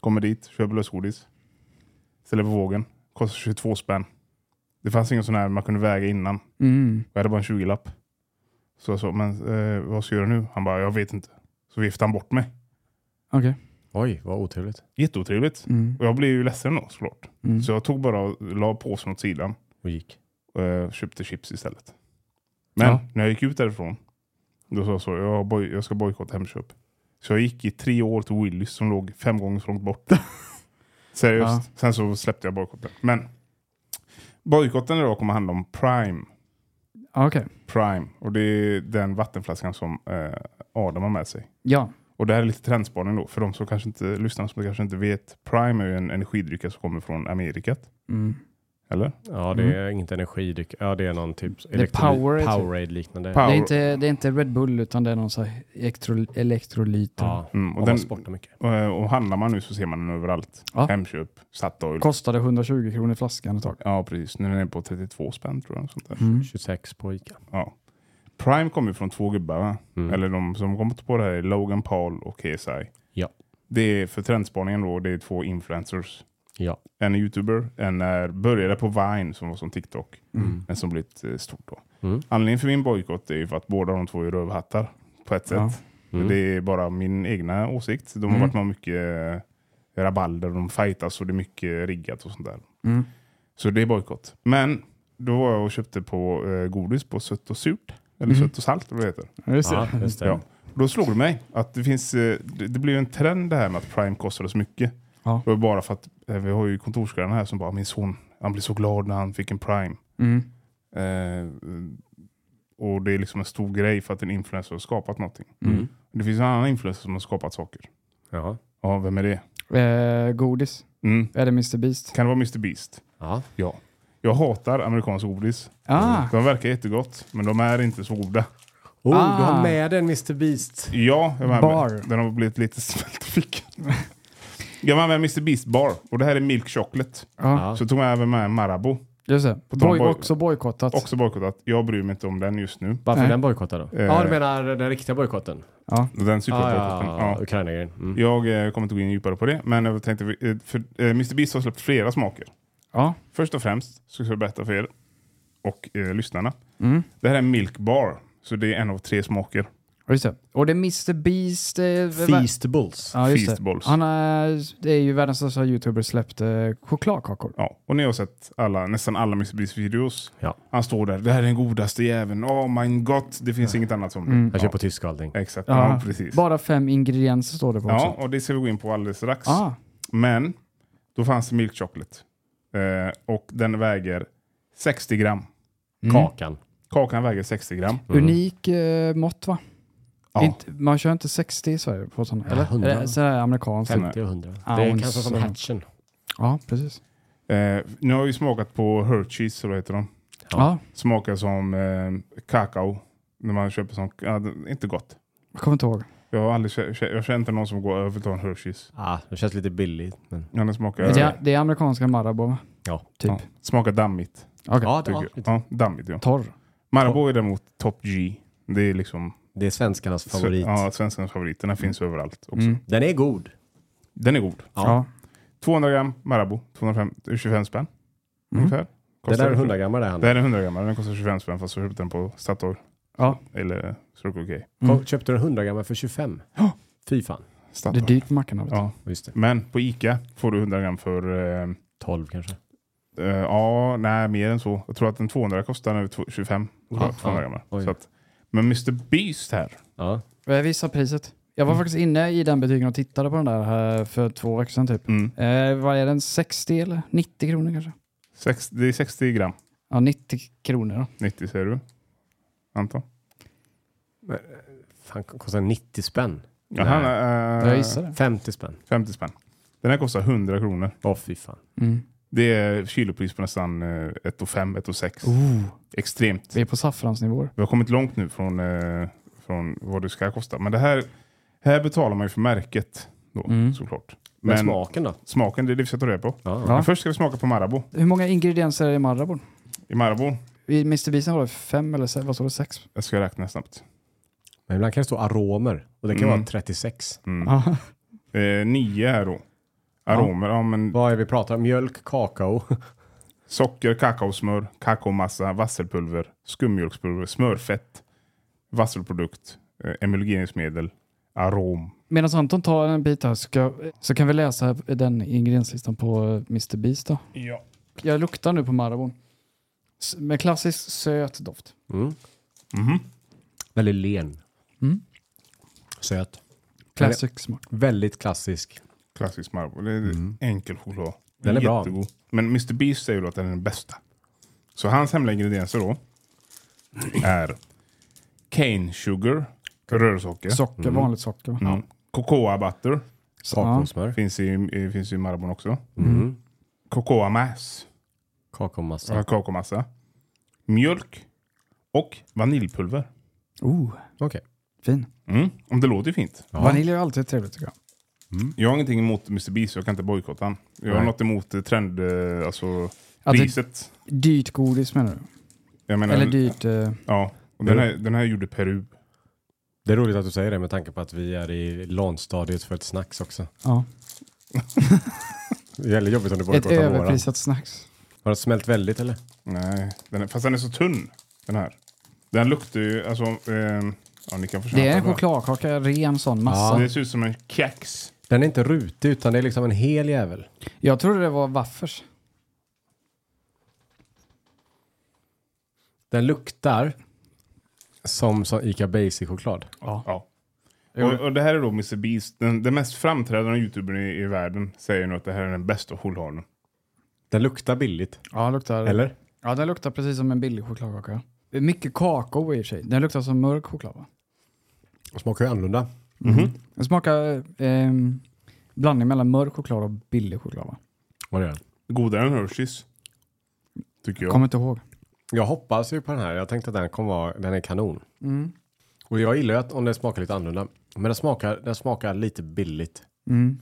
B: Kommer dit, köper lösgodis. Ställer på vågen. Kostar 22 spänn. Det fanns ingen sån här man kunde väga innan.
A: Mm.
B: Jag hade bara en 20-lapp. Så jag sa, men eh, vad ska jag göra nu? Han bara, jag vet inte. Så viftade han bort mig.
A: Okej.
C: Oj, vad otrevligt.
B: Jätteotrevligt.
A: Mm.
B: Och jag blev ju ledsen då såklart.
A: Mm.
B: Så jag tog bara och la påsen åt sidan
C: Och gick.
B: och eh, köpte chips istället. Men
A: Ja.
B: när jag gick ut därifrån, då sa jag så, jag, boj- jag ska bojkotta Hemköp. Så jag gick i tre år till Willys som låg fem gånger så
A: *laughs*
B: långt bort. Seriöst.
A: Ja.
B: Sen så släppte jag bojkotten. Men bojkotten idag kommer handla om Prime.
A: Ja, Okej.
B: Prime. Och det är den vattenflaskan som eh, Adam har med sig.
A: Ja.
B: Och det här är lite trendspaning då, för de som kanske inte lyssnar, som kanske inte vet. Prime är ju en energidryck som kommer från Amerika,
A: Mm.
B: eller?
C: Ja, det är inget energidryck. Ja, det är någon typ
A: Powerade, typ.
C: Powerade-liknande.
B: Power-
A: Det, är inte, det är inte Red Bull utan det är någon sån här elektro, elektrolyter.
C: ja,
B: Mm,
C: och
B: och, den,
C: man sportar mycket.
B: eh, och handlar man nu så ser man den överallt.
A: Ja.
B: Hemköp, Statoil.
A: Kostade 120 kronor flaskan ett tag.
B: Ja, precis. Nu är den på 32 spänn tror jag. Sånt där.
A: Mm.
C: 26 på Ica.
B: Ja. Prime kommer ju från två gubbar, va?
C: Mm.
B: Eller de som kom på det här är Logan Paul och KSI.
C: Ja.
B: Det är för trendspaningen då, det är två influencers.
C: Ja.
B: En är youtuber, en är, började på Vine som var som TikTok,
A: Mm.
B: men som blivit eh, stort då.
C: Mm.
B: Anledningen för min bojkott är ju för att båda de två är rövhattar på ett
A: Ja.
B: sätt.
C: Mm.
B: Det är bara min egna åsikt. De har
A: Mm.
B: varit med om mycket eh, rabalder, de fightas och det är mycket riggat och sånt där.
A: Mm.
B: Så det är bojkott. Men då var jag och köpte på eh, godis på sött och surt. Eller
A: Mhm.
B: sött och salt, vad det heter.
A: Ja, Just det.
C: Ja, just det.
B: Ja. Och då slog det mig att det finns, eh, det, det blev ju en trend det här med att Prime kostade så mycket.
A: Ja.
B: Det var bara för att eh, vi har ju kontorsgrannen här som bara, min son, han blev så glad när han fick en Prime.
A: Mm.
B: Eh, och det är liksom en stor grej för att en influencer har skapat någonting.
A: Mm.
B: Det finns en annan influencer som har skapat saker.
C: Ja.
B: Ja, vem är det?
A: Eh, godis.
B: Mm.
A: Är det Mr Beast?
B: Kan det vara Mr Beast?
C: Ja.
B: Ja. Jag hatar amerikansk godis.
A: Ah,
B: De verkar jättegott, men de är inte så goda.
C: Oh, du
A: Ah.
C: har med dig en Mr Beast.
B: Ja, jag var
A: Bar.
B: med. Den har blivit lite smält i fickan. Jag var med Mr Beast Bar och det här är Milk Chocolate.
A: Ja,
B: Så tog jag även med Marabou.
A: just det.
B: tal om
A: Boy,
B: boy-
A: också bojkottat.
B: Också bojkottat. Jag bryr mig inte om den just nu.
C: Varför
A: Nej.
C: den bojkottad då?
B: Eh,
C: Ja, du menar den riktiga bojkotten?
B: Den
C: Ah,
B: superbojkotten.
C: ja,
B: Ja.
C: Ukraina-grejen. Mm.
B: Jag eh, kommer inte gå in djupare på det, men jag tänkte, eh, för, eh, Mr Beast har släppt flera smaker.
A: Ja.
B: Först och främst så ska jag berätta för er och eh, lyssnarna.
A: Mm.
B: Det här är Milk Bar, så det är en av tre smaker.
A: Ja, Just det. Och det är Mr Beast... Eh,
C: Feastables.
A: ja, just
B: Feast
A: det.
B: Balls.
A: Han är, det är ju världens största youtuber, släppte chokladkakor.
B: Ja, och ni har sett alla, nästan alla Mr Beast-videos.
C: Ja.
B: Han står där, det här är den godaste jäveln, oh my god, det finns inget annat som det.
A: Mm.
C: Jag kör på tysk och allting.
B: Exakt, ja, precis.
A: Bara fem ingredienser står det på
B: Ja,
A: också.
B: och det ska vi gå in på alldeles strax.
A: Ah,
B: Men då fanns det Milk Chocolate. Eh, och den väger 60 gram.
C: Kakan.
B: Kakan väger 60 gram.
C: Mm.
A: Unik eh, mått va?
B: Ja.
A: Inte, man kör inte 60 i Sverige på sådana,
C: Ja,
A: eller? Eh,
C: 100.
A: Eller Sådär amerikanskt.
B: Fem.
C: 50 och 100. Det
A: Ounce.
C: är kanske som hatchen.
A: Ja, precis.
B: Eh, nu har vi smakat på Hershey's, så heter de.
C: Ja.
A: Ja.
B: Smakar som eh, kakao. När man köper sånt. Ja, det är inte gott.
A: Jag kommer inte ihåg.
B: Jag har aldrig kä- kä- jag känner inte någon som går över till en Hershey's.
C: Ah, det känns lite billigt. Men...
B: Ja, den smakar,
A: Det är, det är amerikanska Marabou va?
C: Ja.
A: Typ.
B: ja, smakar dammigt.
A: Okej.
C: Ja, det,
B: tycker
C: var,
B: jag. Ja, dammigt ja.
A: Torr.
B: Marabou är däremot top G. Det är liksom
C: det är svenskarnas favorit.
B: Ja, svenskarnas favorit. Den här finns överallt också.
A: Mm.
C: Den är god.
B: Den är god.
C: Ja.
A: Ja.
B: 200 gram Marabou, 225 spänn
A: Mm.
B: ungefär.
C: Det där är
B: Kostar-
C: en 100 grammar där han.
B: Det här är en 100 gram, den kostar 25 spänn fast jag köpte den på Statoil
A: Ja.
B: eller Circle K.
A: Mm.
C: Kom- Köpte du en 100 grammar för 25?
B: Ja.
C: Fy fan.
A: Det är
B: Statoil.
A: dyrt på mackarna. vet du.
B: Ja.
C: Just det.
B: Men på Ica får du 100 gram för, eh,
C: 12 kanske.
B: eh, ja, nej mer än så. Jag tror att en 200 kostar nu tw- 25. tror jag,
C: Ja,
B: 200
C: ja.
B: grammar.
C: Oj.
B: Så att, men Mr Beast här,
C: Ja.
A: Jag visar priset. Jag var
B: Mm.
A: faktiskt inne i den butiken och tittade på den där här för två veckor sedan typ.
B: mm,
A: Eh, vad är den? 60 eller 90 kronor kanske?
B: sex, det är 60 gram.
A: Ja, 90 kronor då.
B: 90 säger du, Anton?
C: Fan, k- kostar 90 spänn.
B: Ja,
C: Nej.
B: han, eh,
A: Jag gissar det.
C: 50 spänn.
B: 50 spänn. Den här kostar 100 kronor.
C: Åh fy fan.
A: Mm.
B: Det är kilopris på nästan eh, 1 5 1 6 Extremt.
A: Vi är på saffransnivåer.
B: Vi har kommit långt nu från, eh, från vad det ska kosta. Men det här, här betalar man ju för märket då,
A: Mm.
B: såklart.
C: Men,
B: Men
C: smaken då?
B: smaken, det är det vi ska ta reda på.
C: Ja.
A: Ja.
B: Men först ska vi smaka på Marabou.
A: Hur många ingredienser är det i Marabou?
B: I Marabou,
A: I Mr. Beasen var det fem eller se- vad står det? Sex?
B: jag ska räkna snabbt.
C: Men ibland kan det stå aromer. Och det kan
B: Mm.
C: vara 36.
B: Mm.
A: Ja.
B: Eh, nio här då. Aromer, ja. men
C: Vad är vi pratar om? Mjölk, kakao. *laughs*
B: socker, kakaosmör, kakaomassa, vasselpulver, skummjölkspulver, smörfett, vasselprodukt, eh, emulgeringsmedel, arom.
A: Medan Anton tar en bit här ska, så kan vi läsa den ingredienslistan på eh, Mr. Beast då.
B: Ja.
A: Jag luktar nu på Marabou. S- Med klassisk söt doft.
C: Mm. Väldigt len.
A: Mm.
C: Söt.
A: Classic smak.
C: Väldigt klassisk.
B: Klassisk Marabou. Det är enkel choklad.
C: Mm. Den är bra.
B: Jättegod. Men Mr Beast säger då att den är den bästa. Så hans hemliga ingredienser då är cane sugar, rörsocker,
A: Socker, vanligt socker. va?
B: mm. cocoa butter,
C: Kakaosmör.
B: finns i, i- finns i Marabon också.
C: Mm.
B: Cocoa mass,
C: Kakaomassa.
B: ja, kakaomassa, mjölk och vaniljpulver.
A: Oh,
C: Okej.
A: fin.
B: Mm. Om det låter ju fint.
C: Ja.
A: Vanilj är ju alltid trevligt tycker jag.
B: Jag har ingenting emot Mr Beast, jag kan inte bojkotta han. Jag har
C: Nej.
B: något emot eh, trend, eh, alltså
A: Att det-
B: priset.
A: Dyrt godis menar du?
B: Jag menar,
A: Eller dyrt... Eh,
B: Ja, och den här, den här gjorde Peru.
C: Det är roligt att du säger det med tanke på att vi är i LAN-stadiet för ett snacks också.
A: ja.
C: *laughs* Det är väldigt jobbigt om du
A: Ett
C: bojkottar våran.
A: överprisat snacks.
C: Har det smält väldigt eller?
B: Nej, den är, fast den är så tunn den här. Den luktar ju, alltså, ehm, ja ni kan försöka.
A: Det är en chokladkaka, ren sån massa.
B: Det ser ut som en kex.
C: Den är inte rutig utan det är liksom en hel jävel.
A: Jag trodde det var waffers.
C: Den luktar som, som Ica Basic-choklad.
B: Ja. Och, och det här är då Mr Beast, den, den mest framträdande youtubern i, i världen, säger nu att det här är den bästa chokladen.
C: Den luktar billigt.
A: Ja, den luktar,
C: Eller?
A: ja, den luktar precis som en billig chokladkaka. Mycket kakao i och för sig. Den luktar som mörk choklad va?
C: Den smakar ju annorlunda.
A: Den smakar eh, blandning mellan mörk choklad och billig choklad va?
C: Vad det är.
B: Godare än Hershey's. Tycker jag.
A: Kommer inte ihåg. Mm.
C: Jag hoppas ju på den här. Jag tänkte att den kommer vara, den är kanon. Och jag gillar ju att om den smakar lite annorlunda. Men den smakar, den smakar lite billigt
A: Mm.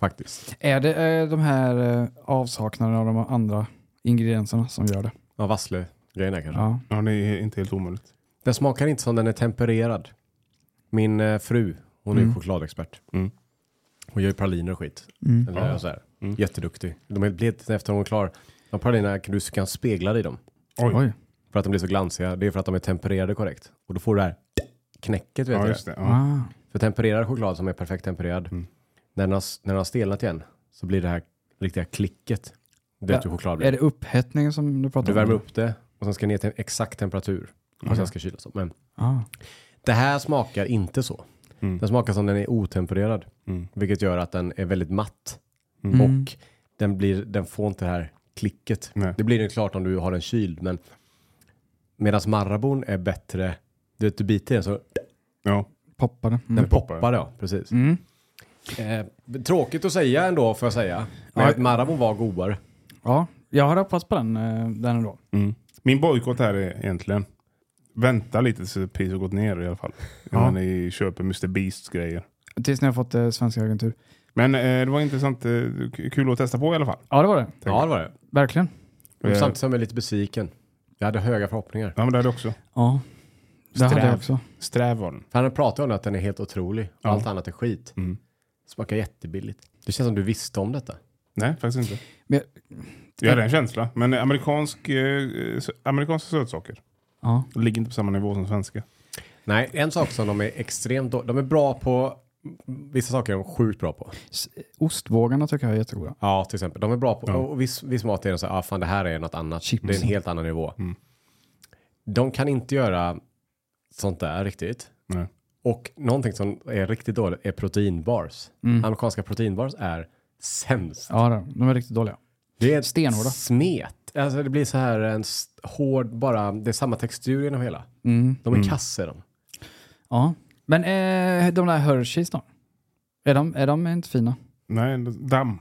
C: faktiskt.
A: Är det eh, de här eh, avsaknaden av de andra ingredienserna som gör det?
C: Ja, vassle-grejen där kanske.
A: Ja.
B: Ja, det är inte helt omöjligt.
C: Den smakar inte som den är tempererad. Min eh, fru, hon är ju
A: Mm.
C: chokladexpert.
B: Mm.
C: Hon gör ju praliner och skit.
A: Mm.
C: Eller
B: Ja.
C: så här.
B: Mm.
C: Jätteduktig. De är blivit efter hon är klar. De pralinerna kan du kan spegla dig i dem.
B: Oj.
A: Oj.
C: För att de blir så glansiga. Det är för att de är tempererade korrekt. Och då får du det här knäcket vet
B: Ja,
C: du det.
B: just det. Ja.
A: Ah.
C: För tempererad choklad som är perfekt tempererad.
B: Mm.
C: När, den har, när den har stelnat igen så blir det här riktiga klicket. Det
A: Ja,
C: är choklad blir.
A: Är det upphettningen som du pratar
C: Du
A: om?
C: värmer upp det och sen ska det ner till en exakt temperatur. Och
A: Okej.
C: sen ska det kylas upp. Men
A: Ah.
C: det här smakar inte så.
B: Mm.
C: Den smakar som den är otempererad.
B: Mm.
C: Vilket gör att den är väldigt matt.
B: Mm.
A: Mm.
C: Och den, blir, den får inte det här klicket.
B: Nej.
C: Det blir det klart om du har den kyld. Men medan Marabon är bättre. Du vet, du biter i den så
B: Ja.
A: Poppade. Mm.
C: den poppar. Ja, precis.
A: Mm.
C: Eh, tråkigt att säga ändå får jag säga. Men
A: Ja.
C: att Marabon var godare.
A: Ja, jag hade hoppats på den, eh, den ändå.
B: Mm. Min bojkott här är egentligen, vänta lite tills priset gått ner i alla fall.
A: Ja.
B: Innan ni köper Mr Beasts grejer.
A: Tills ni har fått eh, svenska agentur.
B: Men eh, det var intressant, eh, k- kul att testa på i alla fall.
A: Ja, det var det.
B: Tänk.
C: Ja, det var det.
A: Verkligen.
C: Men
B: Eh,
C: Samtidigt som jag är lite besviken. Jag hade höga förhoppningar.
B: Ja men det hade jag också.
A: Ja. Det hade jag
B: Sträv.
A: också.
B: Sträv var den.
C: För han pratar ju om att den är helt otrolig. Och
B: Ja.
C: Allt annat är skit.
B: Mm.
C: Smakar jättebilligt. Det känns som du visste om detta.
B: Nej faktiskt inte.
A: Men-
B: Jag hade en känsla. Men eh, amerikansk, eh, s- amerikanska sötsaker
A: Ja.
B: ligger inte på samma nivå som svenska.
C: Nej, en sak som de är extremt då, De är bra på. mm, Vissa saker är de sjukt bra på.
A: S- Ostvågarna tycker jag är jättegoda.
C: Ja, till exempel. De är bra på.
B: Ja.
C: Och viss, viss mat är de så här, ah, fan det här är något annat.
A: Chips.
C: Det är en helt annan nivå.
B: Mm.
C: De kan inte göra sånt där riktigt.
B: Nej.
C: Och någonting som är riktigt dåligt är proteinbars.
A: Mm.
C: Amerikanska proteinbars är sämst.
A: Ja, det- de är riktigt dåliga.
C: Det är ett
A: Stenhårda.
C: smet. Alltså det blir så här en s- hård, bara, det är samma textur genom hela.
A: Mm.
C: De är mm. kasser de.
A: Ja. Men eh, de där Hershey's då? Är de, är de inte fina?
B: Nej, damm.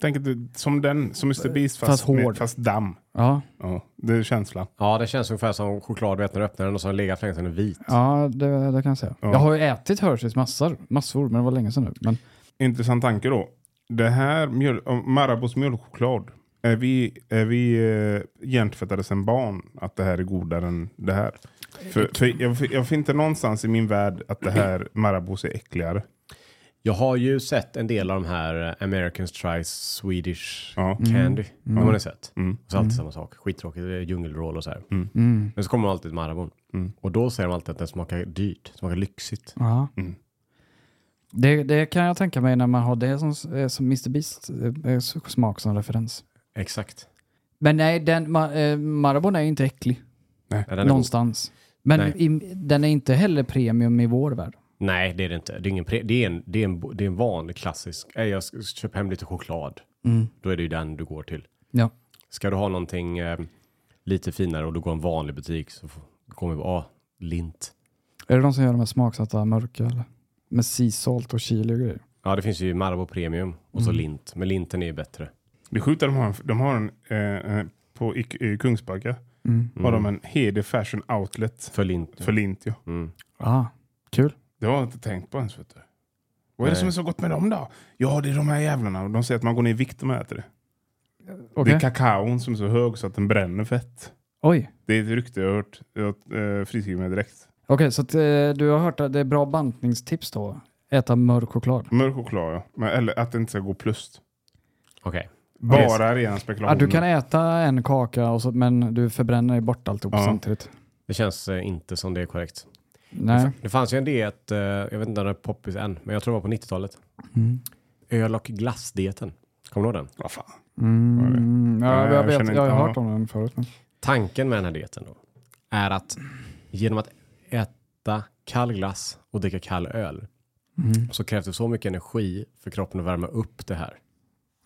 B: Tänk att du, som den, som Mr Beast fast,
A: Fast hård.
B: med- fast damm.
A: Ja,
B: Ja, det är känslan.
C: Ja, det känns ungefär som choklad du vet när du öppnar den och så har den legat länge sedan den är vit.
A: ja det, det kan jag säga.
B: Ja.
A: Jag har ju ätit Hershey's massor, massor, men det var länge sedan nu. Men,
B: Intressant tanke då. Det här mjöl, om Marabos mjölkchoklad. Är vi, är vi eh, hjärntvättade sedan barn att det här är godare än det här? För, för jag, jag finner inte någonstans i min värld att det här *clears throat* Marabos är äckligare.
C: Jag har ju sett en del av de här eh, Americans Try Swedish
B: Ja.
A: Mm.
C: Candy. De har ni sett.
B: Mm.
C: Och så alltid samma sak. Skittråkigt, det är djungelroll och så här.
A: mm.
C: Men så kommer de alltid till Marabon.
B: Mm.
C: Och då säger de alltid att den smakar dyrt, smakar lyxigt.
A: Ja.
B: Mm.
A: Det, det kan jag tänka mig när man har det som, eh, som Mr Beast eh, eh, smak som referens.
C: Exakt.
A: Men nej, den, ma, eh, Marabon är ju inte äcklig
C: Ja, den är god.
A: någonstans. Men
C: Nej.
A: i, den är inte heller premium i vår värld.
C: Nej, det är det inte. Det är, ingen pre- det är, en, det är, en, bo- det är en vanlig klassisk. "Ey, Jag ska köpa hem lite choklad.
A: Mm.
C: Då är det ju den du går till.
A: Ja.
C: Ska du ha någonting eh, lite finare och du går i en vanlig butik så får- kommer du ah, lint.
A: Är det de som gör de här smaksatta mörka eller? Med sea salt och chili och grejer.
C: Ja, det finns ju Marabou Premium och så lint. Men linten är ju bättre.
B: Det är sjukt att de har en, de har en eh, eh, på i, i Kungsbacka
A: Mm.
B: har
C: Mm.
B: de en Hede Fashion Outlet
C: För lint.
B: för lint. Ja.
C: Mm.
A: Ah, kul.
B: Det har jag inte tänkt på ens. Vet du. Vad är det
C: Nej.
B: som är så gott med dem då? Ja, det är de här jävlarna. Och De säger att man går ner i vikt om man äter det. Det
A: Okej.
B: är kakaon som är så hög så att den bränner fett.
A: Oj.
B: Det är ett rykte jag har hört. Jag eh, friskriver mig direkt.
A: Okej, så att, eh, du har hört att det är bra bantningstips då? Äta mörk choklad.
B: Mörk choklad ja. Men, eller att det inte ska gå plus.
C: Okej.
B: Bara rena spekulationer.
A: Ah, du kan äta en kaka och så, men du förbränner ju bort alltihop
B: Ja.
A: samtidigt.
C: Det känns eh, inte som det är korrekt.
A: Nej.
C: Det fanns ju en diet, eh, jag vet inte om den är poppis än, men jag tror det var på 90-talet.
A: Mm.
C: Öl och glassdieten. Kommer du ihåg den?
B: Vad fan.
A: Mm.
B: Nej,
A: Ja, jag,
B: jag
A: vet,
B: känner
A: jag
B: inte-
A: har
B: ja.
A: hört om den förut. Men.
C: Tanken med den här dieten då är att genom att äta kall glass och dricka kall öl så krävs det så mycket energi för kroppen att värma upp det här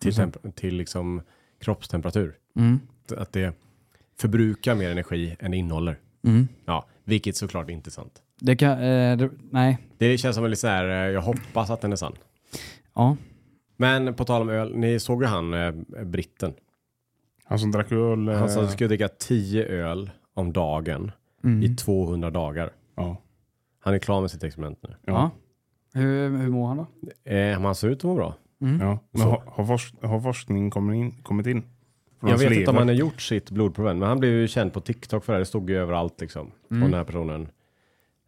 C: till, temp- till liksom kroppstemperatur.
A: Mm.
C: Att det förbrukar mer energi än det innehåller.
A: Mm.
C: Ja, vilket såklart inte är sant.
A: Det kan, eh, det, nej,
C: Det känns som en lite så här, eh, jag hoppas att den är sann.
A: ja.
C: Men på tal om öl, ni såg ju han eh, britten.
B: Han som drack öl. eh,
C: Han sa att han skulle dricka 10 öl om dagen i 200 dagar.
B: ja.
C: Han är klar med sitt experiment nu.
A: Ja. Hur, hur mår han då?
C: Eh, men han ser ut att må bra.
B: Ja. Men har, har, forsk, har forskning kommit in? Kommit in? Från
C: Jag
B: hans
C: vet inte om
B: lever?
C: han har gjort sitt blodprov än, men han blev ju känd på TikTok för det. här. Det stod ju överallt liksom. Från
A: Mm.
C: den här personen.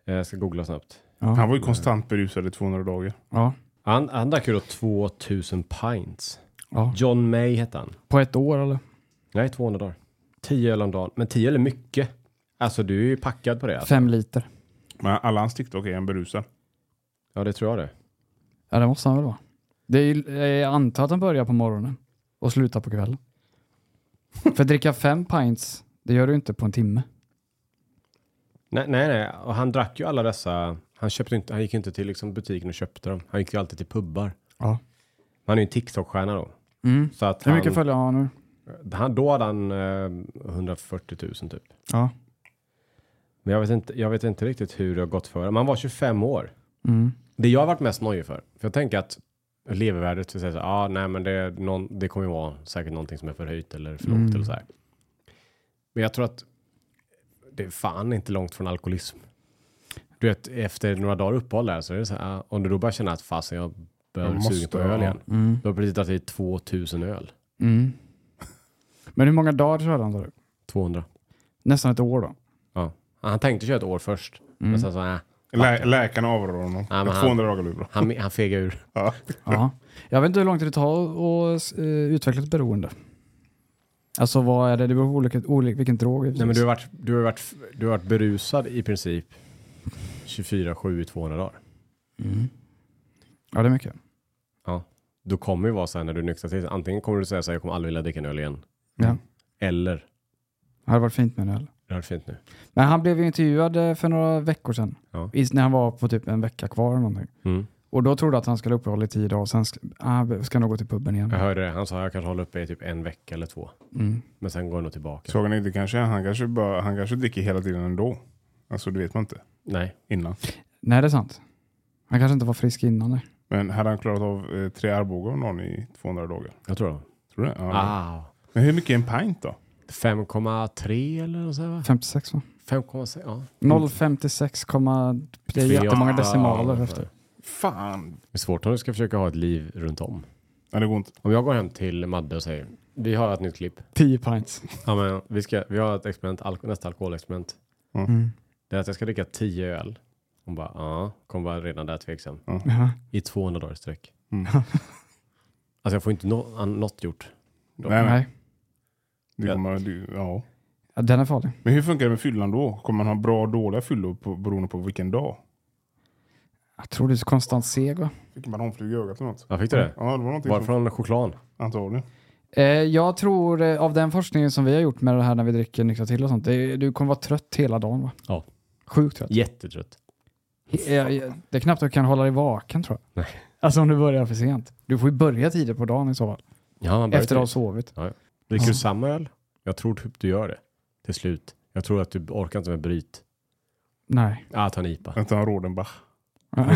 C: Eh, Jag ska googla snabbt.
B: Han var ju konstant berusad i 200 dagar.
A: Ja.
C: Han, han drack ju då 2000 pints.
A: Ja.
C: John May hette han.
A: På ett år eller?
C: Nej, 200 dagar. 10 öl om dagen. Men 10 öl är mycket. Alltså du är ju packad på det. Alltså.
A: Fem liter.
B: Men alla hans TikTok är en berusad.
C: Ja, det tror jag det.
A: Ja, det måste han väl vara. Det är, ju- eh, jag antar att han börjar på morgonen och slutar på *laughs* kvällen. För att dricka fem pints, det gör du inte på en timme.
C: Nej, nej, nej. Och han drack ju alla dessa. Han, köpte inte, han gick ju inte till liksom, butiken och köpte dem. Han gick ju alltid till pubbar.
A: Ja.
C: Han är ju en TikTok-stjärna då.
A: Mm.
C: Så att
A: Hur
C: han,
A: mycket följer han nu?
C: han, då hade han eh, 140 000 typ.
A: Ja.
C: Men jag vet, inte, jag vet inte riktigt hur det har gått för honom. Han var 25 år.
A: Mm.
C: Det jag har varit mest nojig för, för jag tänker att levervärdet, så säger så här, ah, nej men det, är någon, det kommer ju vara säkert någonting som är förhöjt eller för lågt
B: Mm.
C: eller så här. Men jag tror att det är fan inte långt från alkoholism. Du vet, efter några dagar uppehåll där så är det så här, ah, om du då börjar känna att fasen jag börjar
B: Jag
C: bli
B: måste, Mm.
C: sugen på öl
B: ja.
C: igen. Då har du precis dragit i 2000 öl.
A: Mm. Men hur många dagar körde han? sa du?
C: 200.
A: Nästan ett år då?
C: Ja. Han tänkte köra ett år först, men sen så, äh,
B: Lä, läkarna avråder honom.
C: Ja, men han-
B: 200 dagar blir bra.
C: han, han fegade ur.
B: *laughs* Ja.
A: Ja. Jag vet inte hur lång tid det tar att eh, utveckla ett beroende. Alltså vad är det? Det beror på olika, olika, vilken drog.
C: Nej, men du har, varit, du, har varit, du har varit berusad i princip 24-7 i 200 dagar.
A: Mm. Ja, det är mycket.
C: Ja. Då kommer ju vara så här när du nyktrar till. Antingen kommer du säga så här, jag kommer aldrig vilja dricka en öl igen.
B: Mm.
A: Ja.
C: Eller,
A: Det hade varit fint med en öl.
C: det här är fint nu.
A: Men han blev ju intervjuad eh, för några veckor sedan.
C: Ja.
A: I- När han var på typ en vecka kvar eller någonting.
C: Mm.
A: Och då trodde jag att han skulle uppehålla i tio dagar och sen sk- ah, ska han nog gå till puben igen.
C: Jag hörde det, han sa jag kanske håller uppe i typ en vecka eller två.
A: Mm.
C: Men sen går jag nog tillbaka.
B: Såg han inte kanske? Han kanske, bara, han kanske dricker hela tiden ändå. Alltså det vet man inte
C: Nej,
B: innan.
A: Nej, det är sant. Han kanske inte var frisk innan. Nej.
B: Men hade han klarat av eh, tre Arboga om dagen i 200 dagar?
C: jag tror det.
B: Tror du det? Ja.
C: Ah.
B: Men hur mycket är en pint då?
C: 5,3 eller något sånt va?
A: 56 va?
C: 5,6, ja.
A: 056, komma- det är
C: Tre-
A: jättemånga
C: ja,
A: decimaler
C: ja,
A: efter.
B: Fan!
C: Det är svårt om du ska försöka ha ett liv runt om.
B: Nej, det går inte.
C: Om jag går hem till Madde och säger, vi har ett nytt klipp.
A: 10 pints.
C: Ja, men vi, ska, vi har ett experiment, alko, nästa alkoholexperiment.
A: Mm.
C: Det är att jag ska dricka 10 öl. Hon bara, ja, kommer vara redan där tveksam.
A: Ja.
C: I 200 dagar i sträck. *laughs* alltså jag får inte nå- an- något gjort.
B: Nej, nej.
A: Nej,
B: Det kommer, det, ja.
A: Ja, den är farlig.
B: Men hur funkar det med fyllan då? Kommer man ha bra och dåliga fyllor på, beroende på vilken dag?
A: Jag tror det är så konstant seg va?
B: Fick man omflug i ögat eller något?
C: Ja, fick du det?
B: Ja, det var någonting
C: Var det
B: Varför?
C: från chokladen?
B: som antagligen.
A: Eh, jag tror eh, av den forskningen som vi har gjort med det här när vi dricker nyktra till och sånt, det, är- du kommer vara trött hela dagen va?
C: Ja.
A: Sjukt trött.
C: Jättetrött.
A: Eh, eh, det är knappt att du kan hålla dig vaken tror jag.
C: Nej.
A: Alltså om du börjar för sent. Du får ju börja tidigt på dagen i så fall.
C: Ja, man börjar
A: Efter att ha
C: dricka.
A: sovit.
C: Dricker du samma öl? Jag tror typ du gör det. Till slut. Jag tror att du orkar inte med bryt.
A: Nej.
C: Ah, ta en IPA.
B: Vänta, han Rodenbach.
A: *laughs*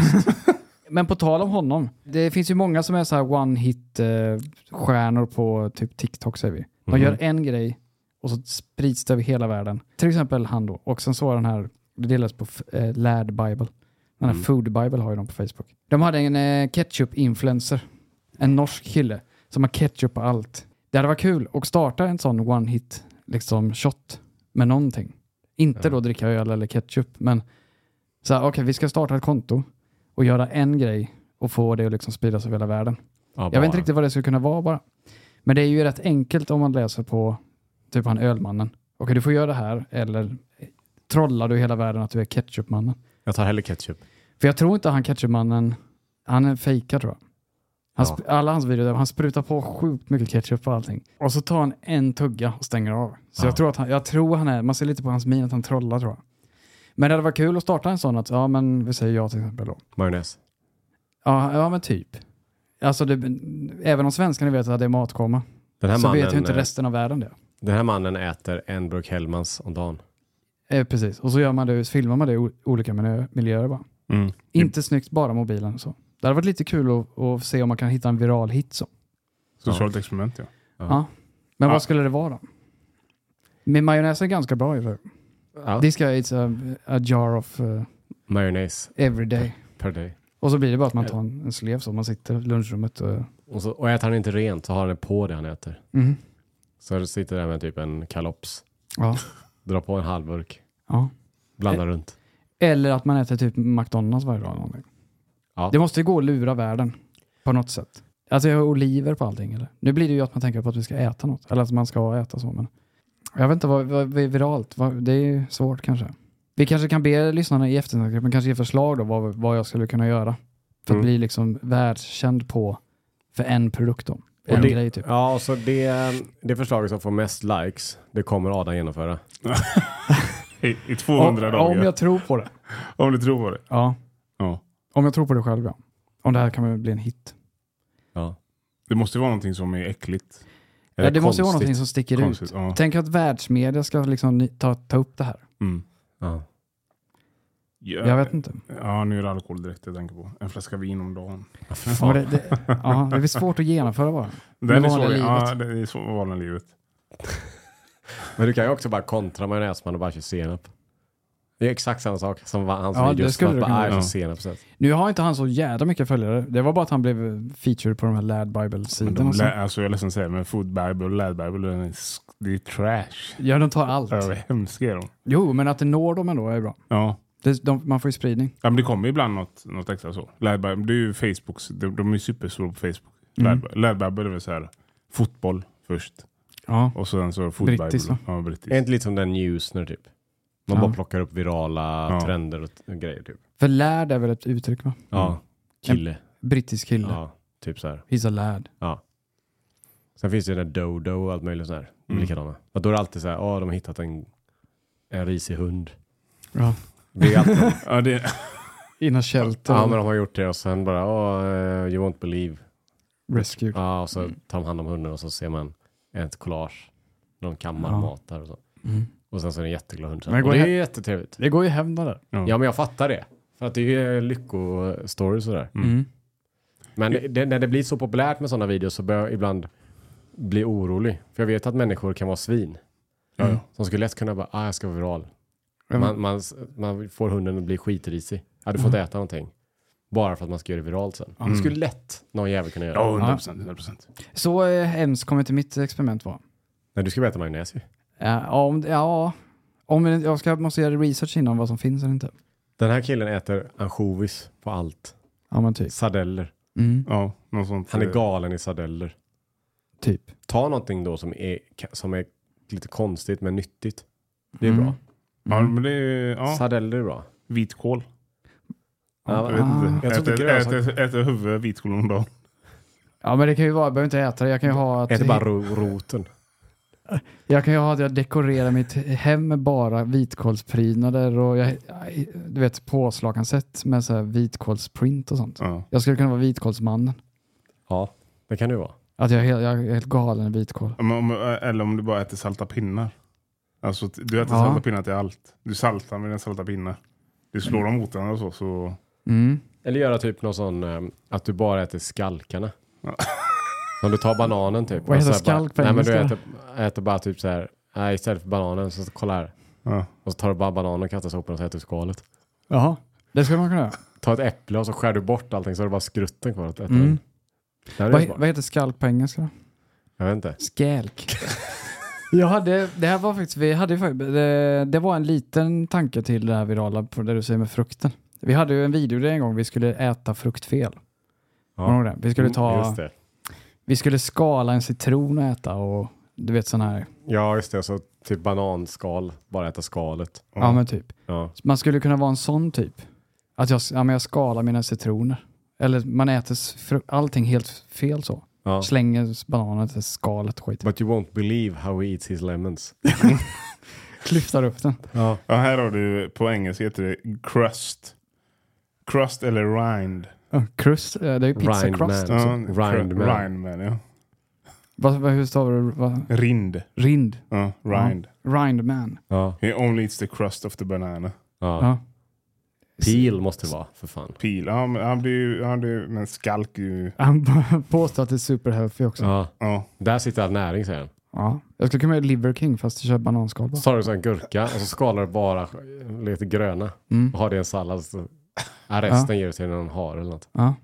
A: Men på tal om honom. Det finns ju många som är så här one hit eh, stjärnor på typ TikTok säger vi. De
C: Mhm.
A: gör en grej och så sprids det över hela världen. Till exempel han då. Och sen så var den här, det delades på f- eh, Lad Bible. Den här
C: Mm.
A: Food Bible har ju de på Facebook. De hade en eh, ketchup-influencer. En norsk kille som har ketchup på allt. Det hade varit kul att starta en sån one hit liksom shot med någonting. Inte
C: Ja.
A: då dricka öl eller ketchup, men så här, okej, vi ska starta ett konto och göra en grej och få det att liksom spridas över hela världen.
C: Ja,
A: Jag
C: bara.
A: vet inte riktigt vad det skulle kunna vara bara. Men det är ju rätt enkelt om man läser på typ han ölmannen. Okej, du får göra det här eller trollar du hela världen att du är ketchupmannen?
C: Jag tar hellre ketchup.
A: För jag tror inte han ketchupmannen, han är fejkad tror jag. Han
C: Ja.
A: sp- Alla hans videor, där han sprutar på sjukt mycket ketchup på allting. Och så tar han en tugga och stänger av. Så
C: Ja.
A: jag tror att han, jag tror han är, man ser lite på hans min att han trollar tror jag. Men det hade varit kul att starta en sån att, ja men vi säger jag till exempel då.
C: Majonnäs.
A: Ja, ja men typ. Alltså det, även om svenskarna vet att det är matkoma
C: Den här,
A: så
C: mannen,
A: vet ju inte
C: eh,
A: resten av världen det.
C: den här mannen äter en burk Hellmans om dagen.
A: Eh, precis, och så gör man det, filmar man det i o- olika miljö, miljöer bara.
B: Mm.
A: Inte snyggt, bara mobilen och så. Det hade varit lite kul att, att se om man kan hitta en viral hit så.
B: Socialt experiment ja.
A: Men
B: Ja.
A: vad skulle det vara då? Med majonnäs är ganska bra ju.
C: Ja.
A: This guy is a, a jar of uh,
C: Mayonnaise
A: every day.
C: per day.
A: Och så blir det bara att man tar en, en slev så man sitter i lunchrummet. Och,
C: Och, så, och äter han inte rent så har han det på det han äter.
A: mm.
C: Så du sitter där med typ en kalops,
A: ja.
C: drar på en halv burk,
A: Ja. Eh,
C: blandar runt.
A: Eller att man äter typ McDonalds varje dag. eller någonting.
C: Ja.
A: Det måste ju gå att lura världen på något sätt. Alltså jag har oliver på allting. Eller? Nu blir det ju att man tänker på att vi ska äta något. Eller att man ska äta så. Men jag vet inte vad, vad vad är viralt. Vad, det är ju svårt kanske. Vi kanske kan be lyssnarna i eftertanke, men kanske ge förslag då vad, vad jag skulle kunna göra. För att
C: Mm.
A: bli liksom världskänd på för en produkt då.
C: Och
A: En
C: det-
A: grej typ.
C: Ja, och så det, det förslaget som får mest likes, det kommer Adam genomföra.
B: I, i 200
A: om,
B: dagar.
A: om jag tror på det.
B: om du tror på det.
A: Ja.
B: Ja.
A: Om jag tror på det själv ja. Om det här kan väl bli en hit.
C: Ja.
B: Det måste ju vara någonting som är äckligt.
A: Ja, det måste ju vara någonting som sticker ut.
B: konstigt. Ja.
A: Tänk att världsmedia ska liksom ni- ta, ta upp det här.
B: Mm.
C: Ja.
B: Ja,
A: Jag vet inte.
B: Ja, nu är det alkohol direkt jag tänker på. En flaska vin om dagen.
A: Ja, det, det, ja, det blir svårt att genomföra bara.
B: Det är,
A: vanliga
B: svår, ja,
A: livet.
B: det är så vanliga livet.
C: Men du kan ju också bara kontra majonnäsman och bara köra senap. Det är exakt samma sak som vad han som
A: Ja,
C: ja,
A: det
C: just
A: skulle
C: snabbt
A: du kunna
C: bara "Ah, jag
B: göra."
C: kör senap. Så att-
A: Nu har inte han så jävla mycket följare. Det var bara att han blev featured på de här Lad
B: Men de
A: Bible-sidorna. och
B: lä-
A: sånt.
B: alltså, jag är ledsen att säga men Food Bible och Lad Bible, den är sk- det är trash.
A: Ja, de tar allt.
B: Ja, vad hemska är de.
A: Jo, men att det når dem ändå är bra.
B: Ja.
A: Det, de, man får ju spridning.
B: ja, men det kommer ju ibland något, något extra så. Lad Bible, det är ju Facebooks, de, de är ju superstora på Facebook. Lad,
A: Mm.
B: Lad Bible är väl så här, fotboll först
A: Ja.
B: och sen så Food
A: Brittiskt,
B: Bible.
A: va?
B: Ja,
C: Är
B: brittiskt.
C: inte lite som den Newsner typ? Man
A: Ja.
C: bara plockar upp virala
B: Ja.
C: trender och t- och grejer typ.
A: För Lad är väl ett uttryck va?
C: Ja, kille.
A: Brittisk Mm. kille.
C: Ja, typ så här.
A: He's a lad.
C: Sen finns det ju den där Dodo och allt möjligt sådär.
B: Mm.
C: Likadana. Och då är det alltid så här, ja de har hittat en, en risig hund.
A: Ja.
C: Det är alltid,
B: Ja, det,
A: Innan shelter.
C: *laughs* ja men de har gjort det och sen bara, ja eh, you won't believe.
A: Rescue.
C: Ja, och så
A: Mm.
C: tar de hand om hunden och så ser man ett collage. när De kammar
A: Ja.
C: matar och så.
A: Mm.
C: Och sen så är det en jätteglad hund.
A: Men
C: Men
A: går
C: och det
A: det
C: är
A: här-
C: ju jättetrevligt.
A: Det går ju hem där.
C: Ja men jag fattar det. För att det är ju en lyckostory sådär.
A: Mm.
C: Men det, när det blir så populärt med sådana videos så börjar jag ibland bli orolig. För jag vet att människor kan vara svin.
B: ja, ja.
C: Som skulle lätt kunna bara, ah, jag ska vara viral.
A: Ja, men- Mm.
C: Man, man, man får hunden att bli skitrisig. Ja, du får inte äta någonting. Bara för att man ska göra det viralt sen. Det skulle lätt någon jävel kunna göra.
B: ja 100 procent. 100 procent.
A: Så eh, hemskt kommer inte mitt experiment vara.
C: Nej, du ska bara äta majonnäs ju.
A: Ja, om, ja, om jag ska, måste göra research innan vad som finns eller inte.
C: Den här killen äter ansjovis på allt.
A: Ja men typ.
C: Sardeller.
A: Mm,
B: Ja, något sånt.
C: Han är galen i sardeller.
A: typ.
C: Ta någonting då som är, som är lite konstigt men nyttigt. Det är
A: Mm.
C: bra.
B: Ja, men det är, ja.
C: Sardeller är bra.
B: Vitkål.
C: Ja,
A: Ah.
B: Jag vet inte.
C: Jag tror inte
B: Äter,
C: grönsak-
B: äter, äter, huvud vitkål om dagen.
A: Ja men det kan ju vara, jag behöver inte äta det. Jag kan ju ha att,
C: Äter bara ro- roten.
A: jag, kan ju ha att jag dekorerar mitt hem med bara vitkålsprydnader och jag, du vet påslakansätt med så här vitkålsprint och sånt.
B: Ja.
A: Jag skulle kunna vara vitkålsmannen.
C: Ja, det kan du vara.
A: Att jag är helt, jag är helt galen i vitkål.
B: Om, om, eller om du bara äter salta pinnar. Alltså, t- du äter
A: Ja.
B: salta pinnar till allt. Du saltar med dina salta pinnar. Du slår dem mot varandra och så. så.
A: Mm.
C: Eller göra typ någon sån eh, att du bara äter skalkarna. *laughs*
B: Ja.
C: Om du tar bananen typ.
A: Vad
C: och så
A: heter
C: här bara-
A: skalk på
C: Nej men du
A: engelska?
C: äter, äter bara typ så här. Nej istället för bananen så kolla här.
B: Ja.
C: Och så tar du bara bananen och kastar soporna och så äter du skalet.
A: Jaha. Det skulle man kunna göra.
C: Ta ett äpple och så skär du bort allting så är det bara skrutten kvar att äta.
A: Mm.
C: Mm. Det här är
A: Vad,
C: smart.
A: vad heter skalk på engelska då?
C: Jag vet inte.
A: Skälk. *laughs* Jag hade, det här var faktiskt, vi hade ju faktiskt, det, det var en liten tanke till det här virala, på det du säger med frukten. Vi hade ju en video där en gång vi skulle äta fruktfel. Kommer du ihåg det? Vi skulle ta,
C: Mm, Just det.
A: vi skulle skala en citron och äta och du vet sån här,
C: Ja just det. Så typ bananskal. Bara äta skalet.
A: ja men typ.
C: Ja.
A: Man skulle kunna vara en sån typ. Att jag, ja, men jag skalar mina citroner. Eller man äter s- fru- allting helt fel så.
C: ja.
A: Slänger bananen till skalet och skit.
C: But you won't believe how he eats his lemons.
A: Klyftar upp den.
C: ja.
B: Ja, här har du, på engelska heter det crust. Crust eller rind.
A: Ja, Crust, eh, det är ju pizza
C: Rind
A: crust.
C: man.
A: också.
B: Ja,
C: rind
B: cru-
C: man.
B: rind man, ja.
A: Vad, vad, hur stavar du? Vad?
B: Rind.
A: Rind.
B: Ja, rind.
A: Rindman.
C: Ja.
B: He only eats the crust of the banana.
C: ja.
A: Ja.
C: Pil måste det vara för fan.
B: Pil. Ja, men han blir ju, han blir ju, men skalk är ju,
A: Han *laughs* påstår att det är superhealthy också.
C: Ja.
B: ja.
C: Där sitter all näring säger han.
A: Ja. Jag skulle kunna göra Liver King fast köra bananskal bara.
C: Så tar du så en gurka och så skalar du bara lite gröna
A: Mm.
C: och har det i en sallad. Så, ja, resten ger du till någon har eller något.
A: Ja.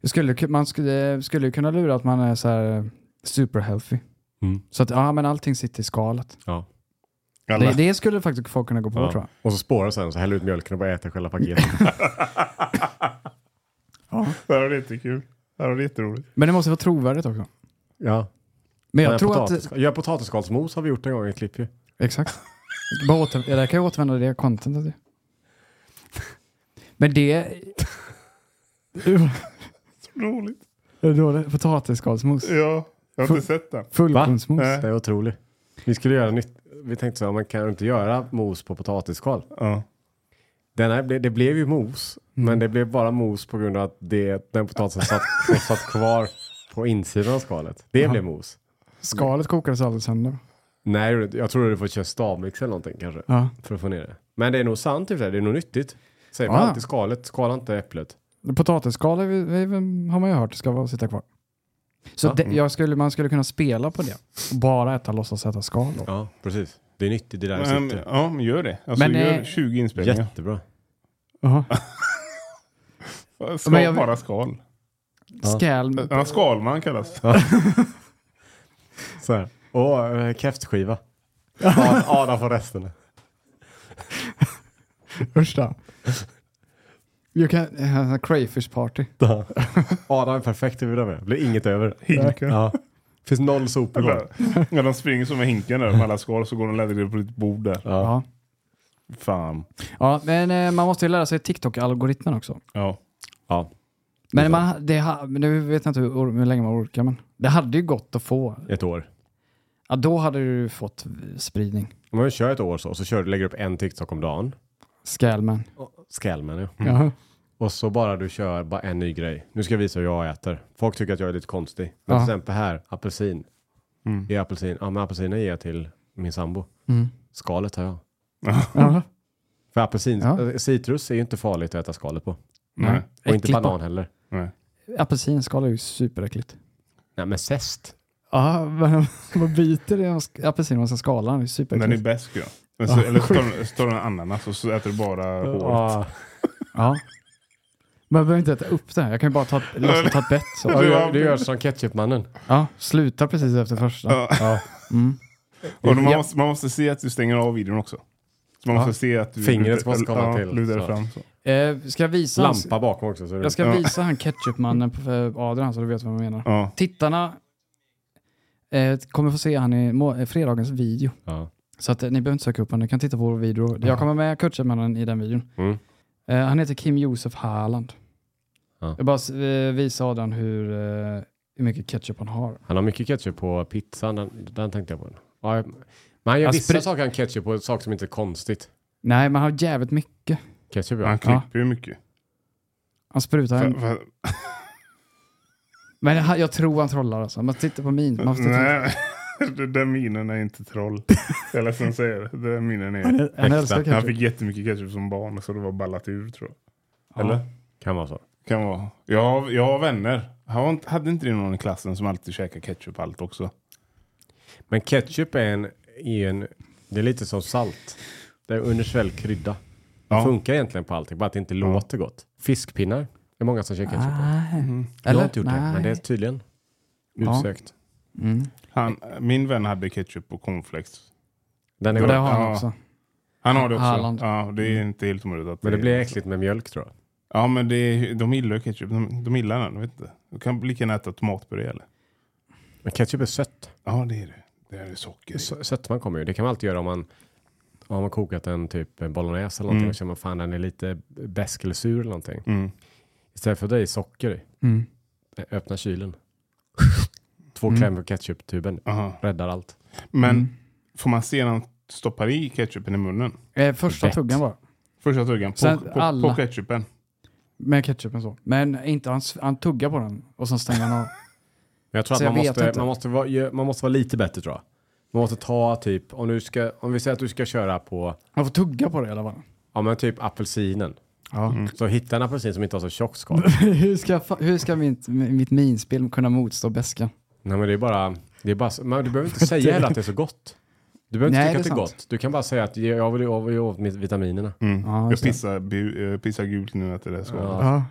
A: Jag skulle, ku- man skulle, eh, skulle ju kunna lura att man är så här super healthy.
C: Mm.
A: Så att ja, men allting sitter i skalet.
B: Alla.
A: Det, det skulle faktiskt folk kunna gå på
C: Ja.
A: tror jag.
C: Och så spårar du sen så häller du ut mjölken och bara äter
A: *laughs*
C: själva paketet.
B: Det här var jättekul. Det här var jätteroligt.
A: Men det måste vara trovärdigt också.
C: ja.
A: Men jag
C: Men
A: tror
C: potatis,
A: att...
C: Gör potatisskalsmos har vi gjort en gång i ett klipp ju.
A: Exakt. Bara åter, ja, där kan jag återvända det contentet ju. Men det...
C: *laughs*
B: Roligt.
A: Det är dåligt. Potatisskalsmos.
B: Ja, jag har inte sett den.
A: Fullkornsmos.
B: Nej.
C: Det är otroligt. Vi skulle göra nytt. Vi tänkte så här, man kan ju inte göra mos på potatisskal.
B: Ja.
C: Den här, ble- det blev ju mos, men det blev bara mos på grund av att det, den potatisen satt, *laughs* som satt kvar på insidan av skalet. Det blev mos.
A: Skalet kokades aldrig sönder.
C: Nej, jag tror du får köra stavmix eller någonting kanske.
A: Ja.
C: För att få ner det. Men det är nog sant i och för sig, det är nog nyttigt. Säger
A: Ja.
C: man alltid skalet, skala inte äpplet.
A: Potatisskal är vi- vi- vi- har man ju hört ska vara- sitta kvar. Så
C: Ja.
A: det, jag skulle, man skulle kunna spela på det. Och bara äta, låtsas äta skal då.
C: Ja, precis. Det är nyttigt, det där
B: Men,
C: sitter.
B: ja, men gör det. Alltså,
A: Men,
B: gör
A: eh,
B: 20 inspelningar.
C: Jättebra.
B: Skal,
A: Men jag-
B: bara skal.
A: Skal,
B: Ja, skalman *laughs* kallas.
C: Så här. Och eh, *laughs* kräftskiva. Ad- Adam får resten.
A: första. You can have a crayfish party.
C: Adam är perfekt över det med. blir inget över.
B: Hinken.
C: Ja. Finns noll sopor kvar.
B: Eller, När de springer som med hinken där med alla skal så går de och lägger det på ditt bord där.
C: Ja.
A: Ja.
B: Fan.
A: ja, men eh, man måste ju lära sig TikTok-algoritmen också.
B: Ja.
C: Ja.
A: Men man, det, ha- men nu vet jag inte hur, or- hur länge man orkar, men det hade ju gått att få.
C: Ett år.
A: Ja, då hade du fått spridning.
C: Om man kör ett år så, så kör du, lägger upp en TikTok om dagen.
A: Skalman.
C: Skälmen Mm. ja.
A: Ja.
C: Och så bara du kör bara en ny grej. Nu ska jag visa hur jag äter. Folk tycker att jag är lite konstig. Men
A: Ja.
C: till exempel här, apelsin. Ge apelsin. Ja, men apelsinen ger jag till min sambo.
A: Mm.
C: Skalet har jag.
A: Ja.
C: För apelsin,
A: Ja.
C: eh, citrus är ju inte farligt att äta skalet på.
B: Nej.
C: Och inte
A: Äckligt bara.
C: banan heller.
A: Apelsinskal är ju superäckligt.
C: Nej, men zest.
A: Ja, men *laughs* man byter det och sk- apelsin och sen skalar den. Det är
B: Den är
A: superäckligt.
B: bäst ja. Men så, eller så tar du- så tar du en ananas och så äter du bara håret.
C: Ja.
A: Ja. Man behöver inte äta upp det här. Jag kan ju bara ta, ett- liksom, ta ett bett.
C: Ja,
A: Så.
B: *laughs*
C: du, gör, du gör som ketchupmannen.
A: Ja, sluta precis efter första.
B: Ja.
A: Mm.
B: Och man,
A: Ja.
B: måste, man måste se att du stänger av videon också. Så man
C: Ja.
B: måste se att du
C: Fingret
B: lutar-
C: måste komma
B: ja,
C: till,
B: lutar
C: så.
B: fram. Så.
A: Eh, ska jag visa? hans-
C: Lampa bakom också. Så
A: Jag ska
B: Ja.
A: visa han ketchupmannen på för Adrian så du vet vad jag menar.
B: Ja.
A: Tittarna eh, kommer få se han i må- eh, fredagens video.
C: Ja.
A: Så att, eh, ni behöver inte söka upp honom, ni kan titta på vår video. Jag kommer med ketchupmannen i den videon.
C: Mm.
A: Eh, han heter Kim Josef Haaland.
C: Ja.
A: Jag bara s- eh, visar Adrian hur, eh, hur mycket ketchup han har.
C: Han har mycket ketchup på pizzan. Den, den tänkte jag på. Ja, jag- men han gör
A: Han
C: vissa
A: spri-
C: saker han ketchup på, saker som inte är konstigt.
A: Nej, men han har jävligt mycket.
C: Ketchup ja.
B: Han klipper ju mycket.
A: Han sprutar
B: För,
A: en.
B: för,
A: Men han, jag tror han trollar alltså. Man tittar på min. Man tittar,
B: nej, *laughs* den där minen är inte troll. Jag är ledsen att säga det. Den där minen är...
A: han, han älskar
B: Han
A: ketchup.
B: fick jättemycket ketchup som barn så det var ballat ur tror jag. Eller?
C: Kan vara så.
B: Kan vara. Jag har, jag har vänner. Har inte- Hade inte det någon i klassen som alltid käkade ketchup på allt också?
C: Men ketchup är en, är en... Det är lite som salt. Det är universell krydda. Det
B: Ja.
C: funkar egentligen på allting, bara att det inte låter gott. Fiskpinnar. Det är många som kör ketchup på.
B: Mm.
A: Nej.
C: Jag
A: Ah, Eller?
C: har inte gjort det, men det är tydligen
A: Ja.
C: utsökt.
A: Mm.
B: Han, min vän hade ketchup på cornflakes.
C: Den är
A: Och
C: god.
A: det har han
B: Ja.
A: också.
B: Han har det också.
A: Halland.
B: Ja, det är inte helt omöjligt. Att
C: Men det blir äckligt med mjölk tror jag.
B: Ja, men det, är- de gillar ju ketchup. De, de gillar den, vet inte. Du kan lika gärna äta tomatpuré eller?
C: Men ketchup är sött.
B: Ja, det är det. Det är socker. i.
C: S- Sötman kommer ju. Det kan man alltid göra om man om man har kokat en typ bolognese eller någonting
A: Mm.
C: och känner man fan den är lite besk eller sur eller någonting.
B: Mm.
C: Istället för att det är socker i.
A: Mm.
C: Ö-
A: *laughs*
C: Öppna kylen. Två klämmor på ketchuptuben.
B: Aha.
C: Räddar allt.
B: Men
A: Mm.
B: får man se när han stoppar i ketchupen i munnen?
A: Eh, första
C: Fett.
A: tuggan bara.
B: Första tuggan på,
A: Sen
B: på, på
A: alla-
B: ketchupen.
A: Med ketchupen så. Men inte, han, s- han tuggar på den och sen stänger han av.
C: Men jag tror
A: Så
C: att
A: jag
C: man
A: vet
C: måste,
A: inte.
C: man, måste vara, gö- man måste vara lite bättre tror jag. Man måste ta typ, om, du ska, om vi säger att du ska köra på,
A: Han får tugga på det i alla *laughs* fall.
C: ja men typ apelsinen.
A: Ja.
C: Så hitta en apelsin som inte har så tjockt skal.
A: hur ska, fa- hur ska mitt, mitt minspel kunna motstå bäskan?
C: Nej men det är bara, Det är bara, så- men du behöver inte säga heller att det är så gott. Du behöver
A: Nej,
C: inte tycka
A: det är
C: att det är
A: sant.
C: gott. Du kan bara säga att jag vill, jag vill åt mitt- vitaminerna.
B: Mm.
A: Ja,
B: jag
A: just det.
B: pissar, bu, eh, pissar gult nu att det är så.
C: Ja.
A: Ja,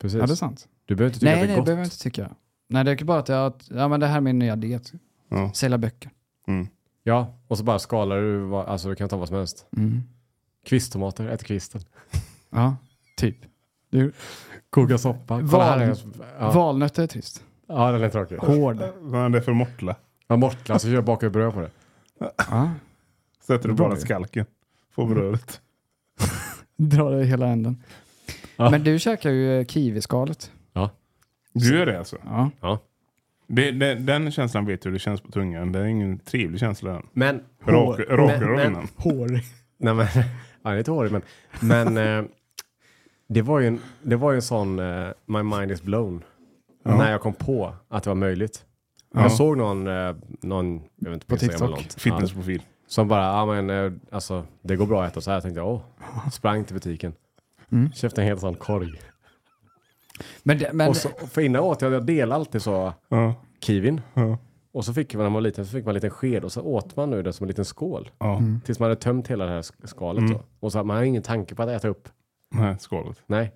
C: Precis.
A: ja det är sant.
C: Du behöver inte tycka
A: Nej,
C: att det
A: nej,
C: är
A: det
C: gott.
A: behöver jag inte tycka. Nej, det är bara att jag, att- ja men det här är min nya diet.
B: Ja.
A: Sälja böcker.
B: Mm.
C: Ja, och så bara skalar du, vad- alltså du kan ta vad som helst.
A: Mm.
C: Kvisttomater, ät kvisten.
A: Ja, typ. Du,
C: Koka soppa.
A: Val-
C: Kolla här är- Ja.
A: Valnötter är trist. *laughs*
C: ja, den är tråkig.
A: Hård.
B: Vad är det för mortla?
C: Ja, mortlar, så kör jag bakar bröd på det.
A: Ja.
B: Sätter du
C: Bra
B: bara
C: ju.
B: skalken på brödet.
A: Dra det i hela änden.
C: Ja.
A: Men du käkar ju eh, kiwiskalet.
B: Du gör det alltså?
A: Ja.
B: Det, det, den känslan vet du hur det känns på tungan. Det är ingen trevlig känsla. än.
C: Men...
B: Rak- rakar du
C: men,
B: honom?
C: Hårig. Nej men, *laughs* ja, det är inte hårig men. Men eh, det, var ju en, det var ju en sån eh, my mind is blown. När jag kom på att det var möjligt.
B: Ja.
C: Jag såg någon, eh, någon, jag vet inte
A: På
C: Instagram
A: TikTok.
C: eller något. Ja,
B: Fitnessprofil.
C: Som bara, ja men eh, alltså det går bra att äta så här. Tänkte jag, åh. Sprang till butiken.
A: Mm.
C: Köpte en helt sån korg.
A: Men, det- men
C: Och så, för innan åt jag, jag delade alltid så
B: Ja.
C: kiwin.
B: Ja.
C: Och så fick man, när man var liten, så fick man en liten sked och så åt man nu det som en liten skål.
B: ja.
A: Mm.
C: Tills man hade tömt hela det här sk- skalet
B: Mm.
C: då. Och så hade man ingen tanke på att äta upp.
B: Nej, skålet.
C: Nej.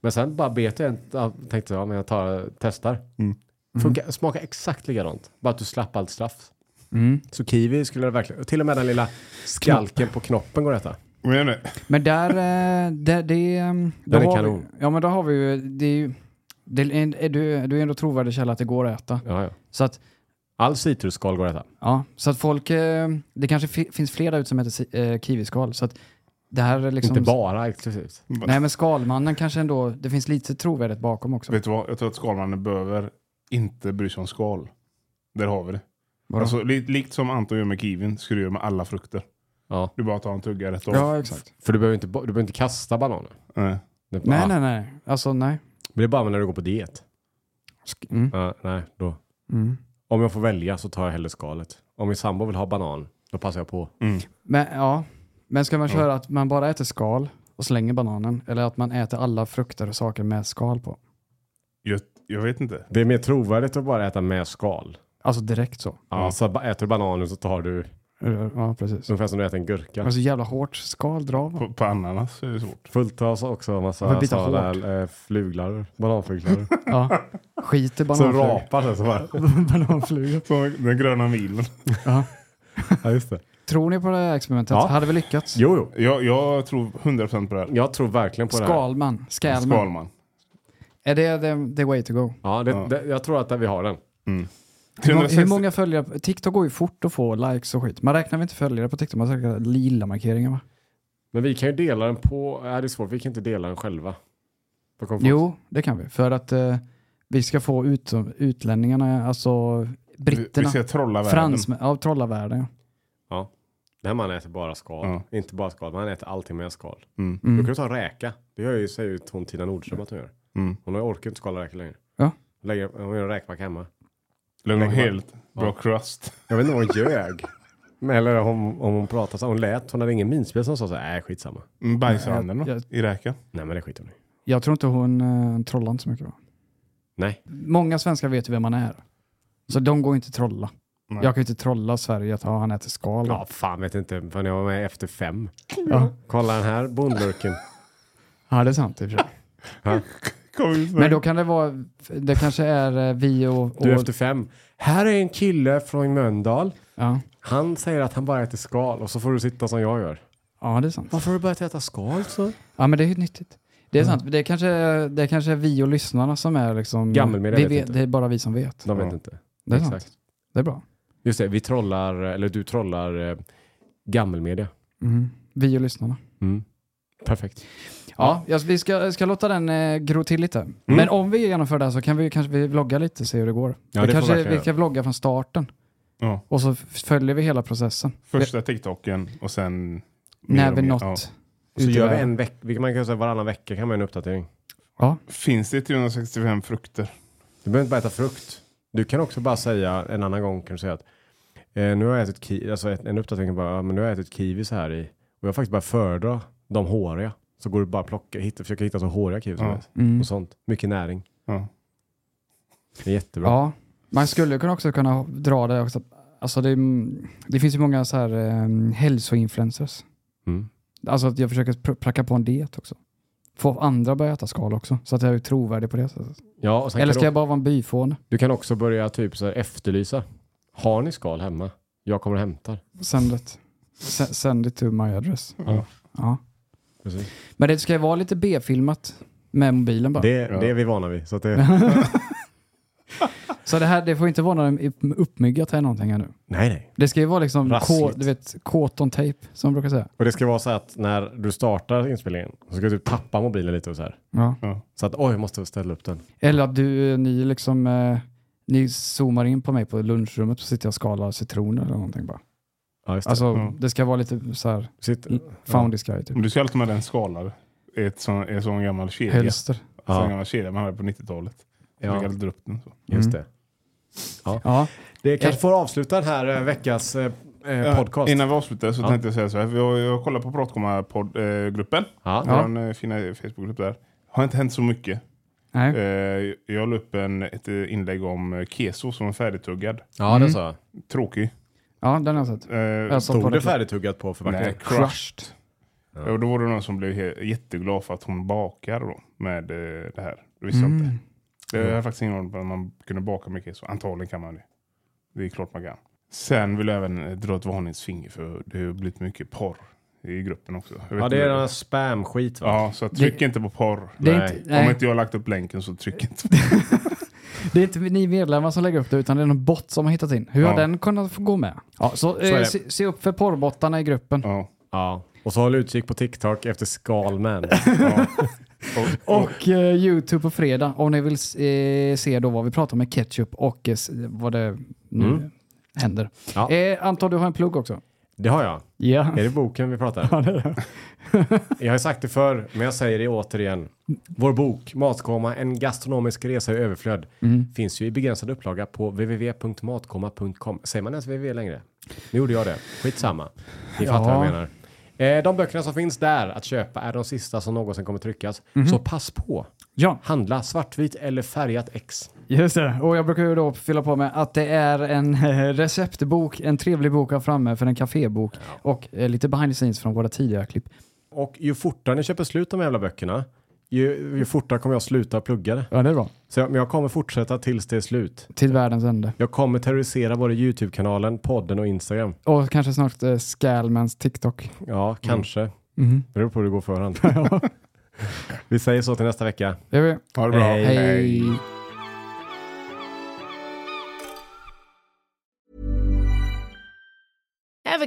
C: Men sen bara bet jag en, ja, tänkte jag, men jag tar, testar.
B: Mm.
C: Funkar, smakar exakt likadant. Bara att du slapp allt straff.
A: Mm.
C: Så kiwi skulle jag verkligen, till och med den lilla skalken på knoppen går att äta.
B: Men det,
A: Men där, eh, där det... ehm, Då
C: Den är
A: har
C: kanon.
A: Vi, ja men då har vi ju, det är ju... Det är, en- är du, du är ändå trovärdig källa att det går att äta.
C: Ja, ja.
A: Så att,
C: All citrusskal går att äta.
A: ja, så att folk... eh, Det kanske fi, finns flera ut som heter si- eh, kiwiskal. Så att det här är liksom...
C: Inte bara exklusivt.
A: Nej men skalmannen kanske ändå... Det finns lite trovärdigt bakom också.
B: vet du vad? Jag tror att skalmannen behöver inte bry sig om skal. Där har vi det.
A: Vadå?
B: Alltså, li, likt som Anton gör med kiwin, ska du göra med alla frukter.
C: Ja.
B: Du bara tar en tugga rätt av.
A: ja exakt.
C: För du behöver inte, bo- du behöver inte kasta bananer.
B: Nej.
C: Det är bara,
A: Nej nej
C: ah,
A: nej. Alltså nej.
C: Men det är bara när du går på diet.
A: Sk- Mm.
C: Ja, nej, då.
A: Mm.
C: Om jag får välja så tar jag hellre skalet. Om min sambo vill ha banan, då passar jag på.
B: Mm.
A: Men, ja. men ska man köra att man bara äter skal och slänger bananen eller att man äter alla frukter och saker med skal på?
B: Jag, jag vet inte.
C: Det är mer trovärdigt att bara äta med skal.
A: Alltså direkt så.
C: Ja. Så ba- äter du bananen så tar du,
A: Ja, precis.
C: ungefär som du äter en gurka.
A: Men så jävla hårt skal drar man.
B: På, på ananas är det svårt.
C: Fullt av så också en
A: Man
C: massa
A: bitar
C: sådana
A: hårt.
C: här, eh, fluglarver, bananfluglarver.
A: Ja. Skit i
C: som
A: bananflugor.
C: rapar det så bara.
A: *laughs* bananflugor.
B: Så Den gröna milen.
C: Ja, just det.
A: Tror ni på det här experimentet?
C: Ja.
A: Hade vi lyckats?
C: Jo, jo.
B: Jag, jag tror 100% på det här.
C: Jag tror verkligen på det här.
A: Skalman. Skalman.
B: Skalman.
A: Är det the, the way to go?
C: Ja, det,
B: Ja.
C: Det, jag tror att vi har den.
A: Hur, må,
B: 360
A: hur många följare? TikTok går ju fort att få likes och skit. Man räknar väl inte följare på TikTok? Man söker lilla markeringar va?
C: Men vi kan ju dela den på, nej det är svårt, vi kan inte dela den själva. På komfort.
A: Jo, det kan vi. För att eh, vi ska få ut, utlänningarna, alltså
B: Vi, vi
A: britterna,
B: ska trolla världen.
A: fransmän, ja, trollavärlden. ja.
C: Den här mannen äter bara skal.
B: Ja.
C: Inte bara skal, men han äter allting med skal.
B: Mm.
C: Då
A: Mm.
C: kan du ta räka. Det gör ju, säger ju hon Tina Nordström att hon gör.
B: Mm.
C: Hon har orkar inte skala räkor längre.
A: Ja.
C: Lägger, hon gör en räkmacka hemma.
B: Lägg dem
C: Lägg dem
B: helt. Bra
C: Ja.
B: crust.
C: Jag vet inte om hon ljög. *laughs* Men Eller om, om hon pratade så. Hon lät, hon hade ingen minspel som sa så här, nej skitsamma.
B: Mm, Bajsranden då?
A: Jag-
B: I räkan?
C: Nej men det skiter hon i.
A: Jag tror inte hon eh, trollar inte så mycket. Va?
C: Nej.
A: Många svenskar vet ju vem man är. Så de går inte att trolla.
B: Nej.
A: Jag kan ju inte trolla Sverige att ja, han äter skal.
C: Ja fan vet inte, för jag var med efter fem.
A: Ja.
C: Kolla den här bondlurken.
A: ja, det är sant i och för sig.
B: Kom ut med
A: Men då kan det vara, det kanske är eh, vi och... och
C: *laughs* Du efter fem. Här är en kille från Mölndal.
A: ja.
C: Han säger att han bara äter skal och så får du sitta som jag gör.
A: ja, det är sant.
C: Varför har du börjat äta skal så?
A: Ja, men det är ju nyttigt. Det är sant. Det är kanske det är kanske vi och lyssnarna som är liksom...
C: Gammelmedia
A: vi
C: vet
A: vet,
C: inte.
A: Det är bara vi som vet.
C: De vet
B: Ja.
C: inte.
A: Det är sant.
C: Exakt.
A: Det är bra.
C: Just det, vi trollar, eller du trollar eh, gammelmedia.
A: Mm. Vi och lyssnarna.
C: Mm. Perfekt.
A: Ja, jag- vi ska, ska låta den eh, gro till lite.
C: Mm.
A: Men om vi genomför det här så kan vi kanske vi vlogga lite och se hur det går.
C: Ja,
A: vi
C: det får vi
A: kanske
C: verkligen
A: vi kan vlogga från starten
B: Ja.
A: och så f- följer vi hela processen.
B: första TikToken och sen... mer
A: När
B: och
A: vi
B: mer.
A: nått
B: Ja.
C: Och så
A: ut i
C: gör vi
A: världen.
C: en vecka, vilket man kan säga varannan vecka kan man göra en uppdatering.
B: Finns det 365 frukter?
C: Du behöver inte bara äta frukt. Du kan också bara säga en annan gång kan du säga att eh, nu har jag ätit kiwi, alltså ett- en uppdatering bara, ja, men nu har jag ätit kiwi så här i och jag har faktiskt bara föredrar de håriga. Så går du bara plocka, hitta, försöka hitta så håriga kiwi som
B: Ja.
C: helst.
A: Mm.
C: Och sånt. Mycket näring.
B: Ja.
C: Det är jättebra.
A: Ja, Man skulle kunna också kunna dra det också. Alltså det, det finns ju många så här um, hälsoinfluencers.
C: Mm.
A: Alltså att jag försöker pr- pracka på en diet också. Få andra att börja äta skal också, så att jag är trovärdig på det sättet.
C: Ja, och sen
A: Eller
C: kan
A: ska
C: du,
A: jag bara vara en byfåne?
C: du kan också börja typ så här efterlysa. Har ni skal hemma? Jag kommer och hämtar.
A: Send it. Se- Send it to my address.
C: Ja.
A: Ja.
C: Precis.
A: Men det ska ju vara lite B-filmat med mobilen bara.
C: Det, det är vi vana vid. Så att det,
A: *laughs* Så det här det får inte vara någon uppmyggat här någonting här nu.
C: nej, nej.
A: Det ska ju vara liksom
C: Rassligt.
A: kå, du vet, kåt on tape, som man brukar säga.
C: Och det ska vara så att när du startar inspelningen så ska du typ tappa mobilen lite och så här.
A: Ja.
C: Så att oj, jag måste ställa upp den.
A: Eller att du, ni liksom, eh, ni zoomar in på mig på lunchrummet och sitter jag och skalar citroner eller någonting bara.
C: Ja, just det. Mm.
A: Alltså
B: Ja.
A: det ska vara lite så här,
C: Sitt,
A: found this guy typ.
B: Men Du ska alltid med den skalad. Ett sån, en sån gammal kedja.
A: Hölster.
B: En
C: Ja.
B: sån gammal kedja man hade på 90-talet.
C: Ja.
B: Jag fick aldrig dra upp den så.
C: Just
A: Mm.
C: det.
A: Ja. Eh.
C: Det kanske får avsluta den här eh, veckans eh, eh, podcast.
B: Innan vi avslutar så
C: Ja.
B: tänkte jag säga så här. för Jag, jag kollar på eh, Pratkomma-gruppen.
C: Ja.
B: Ja. Vår eh, fina Facebookgrupp där. Har inte hänt så mycket.
A: Nej.
B: Eh, Jag la upp en, ett eh, inlägg om eh, keso som var färdigtuggad.
C: ja,
A: Mm.
C: det sa jag.
B: Tråkig.
A: Ja, den har jag sett.
B: Eh,
A: Jag såg på
C: Stod det
A: det.
C: färdigtuggat på
B: nej,
C: förpackningen?
B: crushed. Ja. Och då var det någon som blev he- jätteglad för att hon bakar då med eh, det här. Det visste
A: Mm.
B: jag inte. Det jag har faktiskt ingen aning om att man kunde baka med keso. Antagligen kan man det. Det är klart man kan. Sen vill jag även eh, dra ett varningsfinger för det har blivit mycket porr i gruppen också. Jag vet
C: Ja, det är
B: inte-
C: den här spam-skit va?
B: Ja, så tryck
A: Det-
B: inte på porr.
A: Det är,
C: Nej.
A: inte,
B: Om
A: nej,
B: inte jag har lagt upp länken så tryck inte.
A: det är inte ni medlemmar som lägger upp det utan det är någon bot som har hittat in. Hur har
B: Ja.
A: den kunnat få gå med? Ja, så,
C: är
A: eh,
C: det.
A: se, se upp för porrbottarna i gruppen.
B: Ja,
C: Ja. Och så håll utkik på TikTok
A: *laughs*
C: efter Skalman.
B: ja. Och, och,
A: Och eh, YouTube på fredag om ni vill eh, se då vad vi pratar om med ketchup och eh, s- vad det nu
C: Mm.
A: händer.
C: Ja.
A: Eh, Anton, du har en plugg också.
C: Det har jag.
A: Ja.
C: Är det boken vi pratar?
A: Ja, det är det.
C: *laughs* Jag har sagt det förr, men jag säger det återigen. Vår bok Matkoma, en gastronomisk resa i överflöd
A: Mm.
C: finns ju i begränsad upplaga på www.matkoma.com. Säger man ens www längre? Nu gjorde jag det. Skitsamma. Ni fattar vad jag menar. Eh, De böckerna som finns där att köpa är de sista som någonsin kommer tryckas.
A: Mhm.
C: Så pass på.
A: ja,
C: Handla svartvit eller färgat X.
A: just det. Och jag brukar ju då fylla på med att det är en *laughs* eh, receptbok, en trevlig bok här framme för en kafébok och eh, lite behind the scenes från våra tidigare klipp.
C: Och ju fortare ni köper slut de jävla böckerna, ju, ju fortare kommer jag sluta plugga det.
A: Ja, det är bra.
C: Så jag, men jag kommer fortsätta tills det är slut.
A: Till världens ände.
C: Jag kommer terrorisera både YouTube-kanalen, podden och Instagram.
A: Och kanske snart eh, Scalmans TikTok.
C: Ja, kanske.
A: Mm.
C: Det beror på hur det går
A: *laughs*
C: för hand. Vi säger så till nästa vecka.
A: Det är vi.
B: ha det bra.
C: Hej.
A: Hej.
F: Ever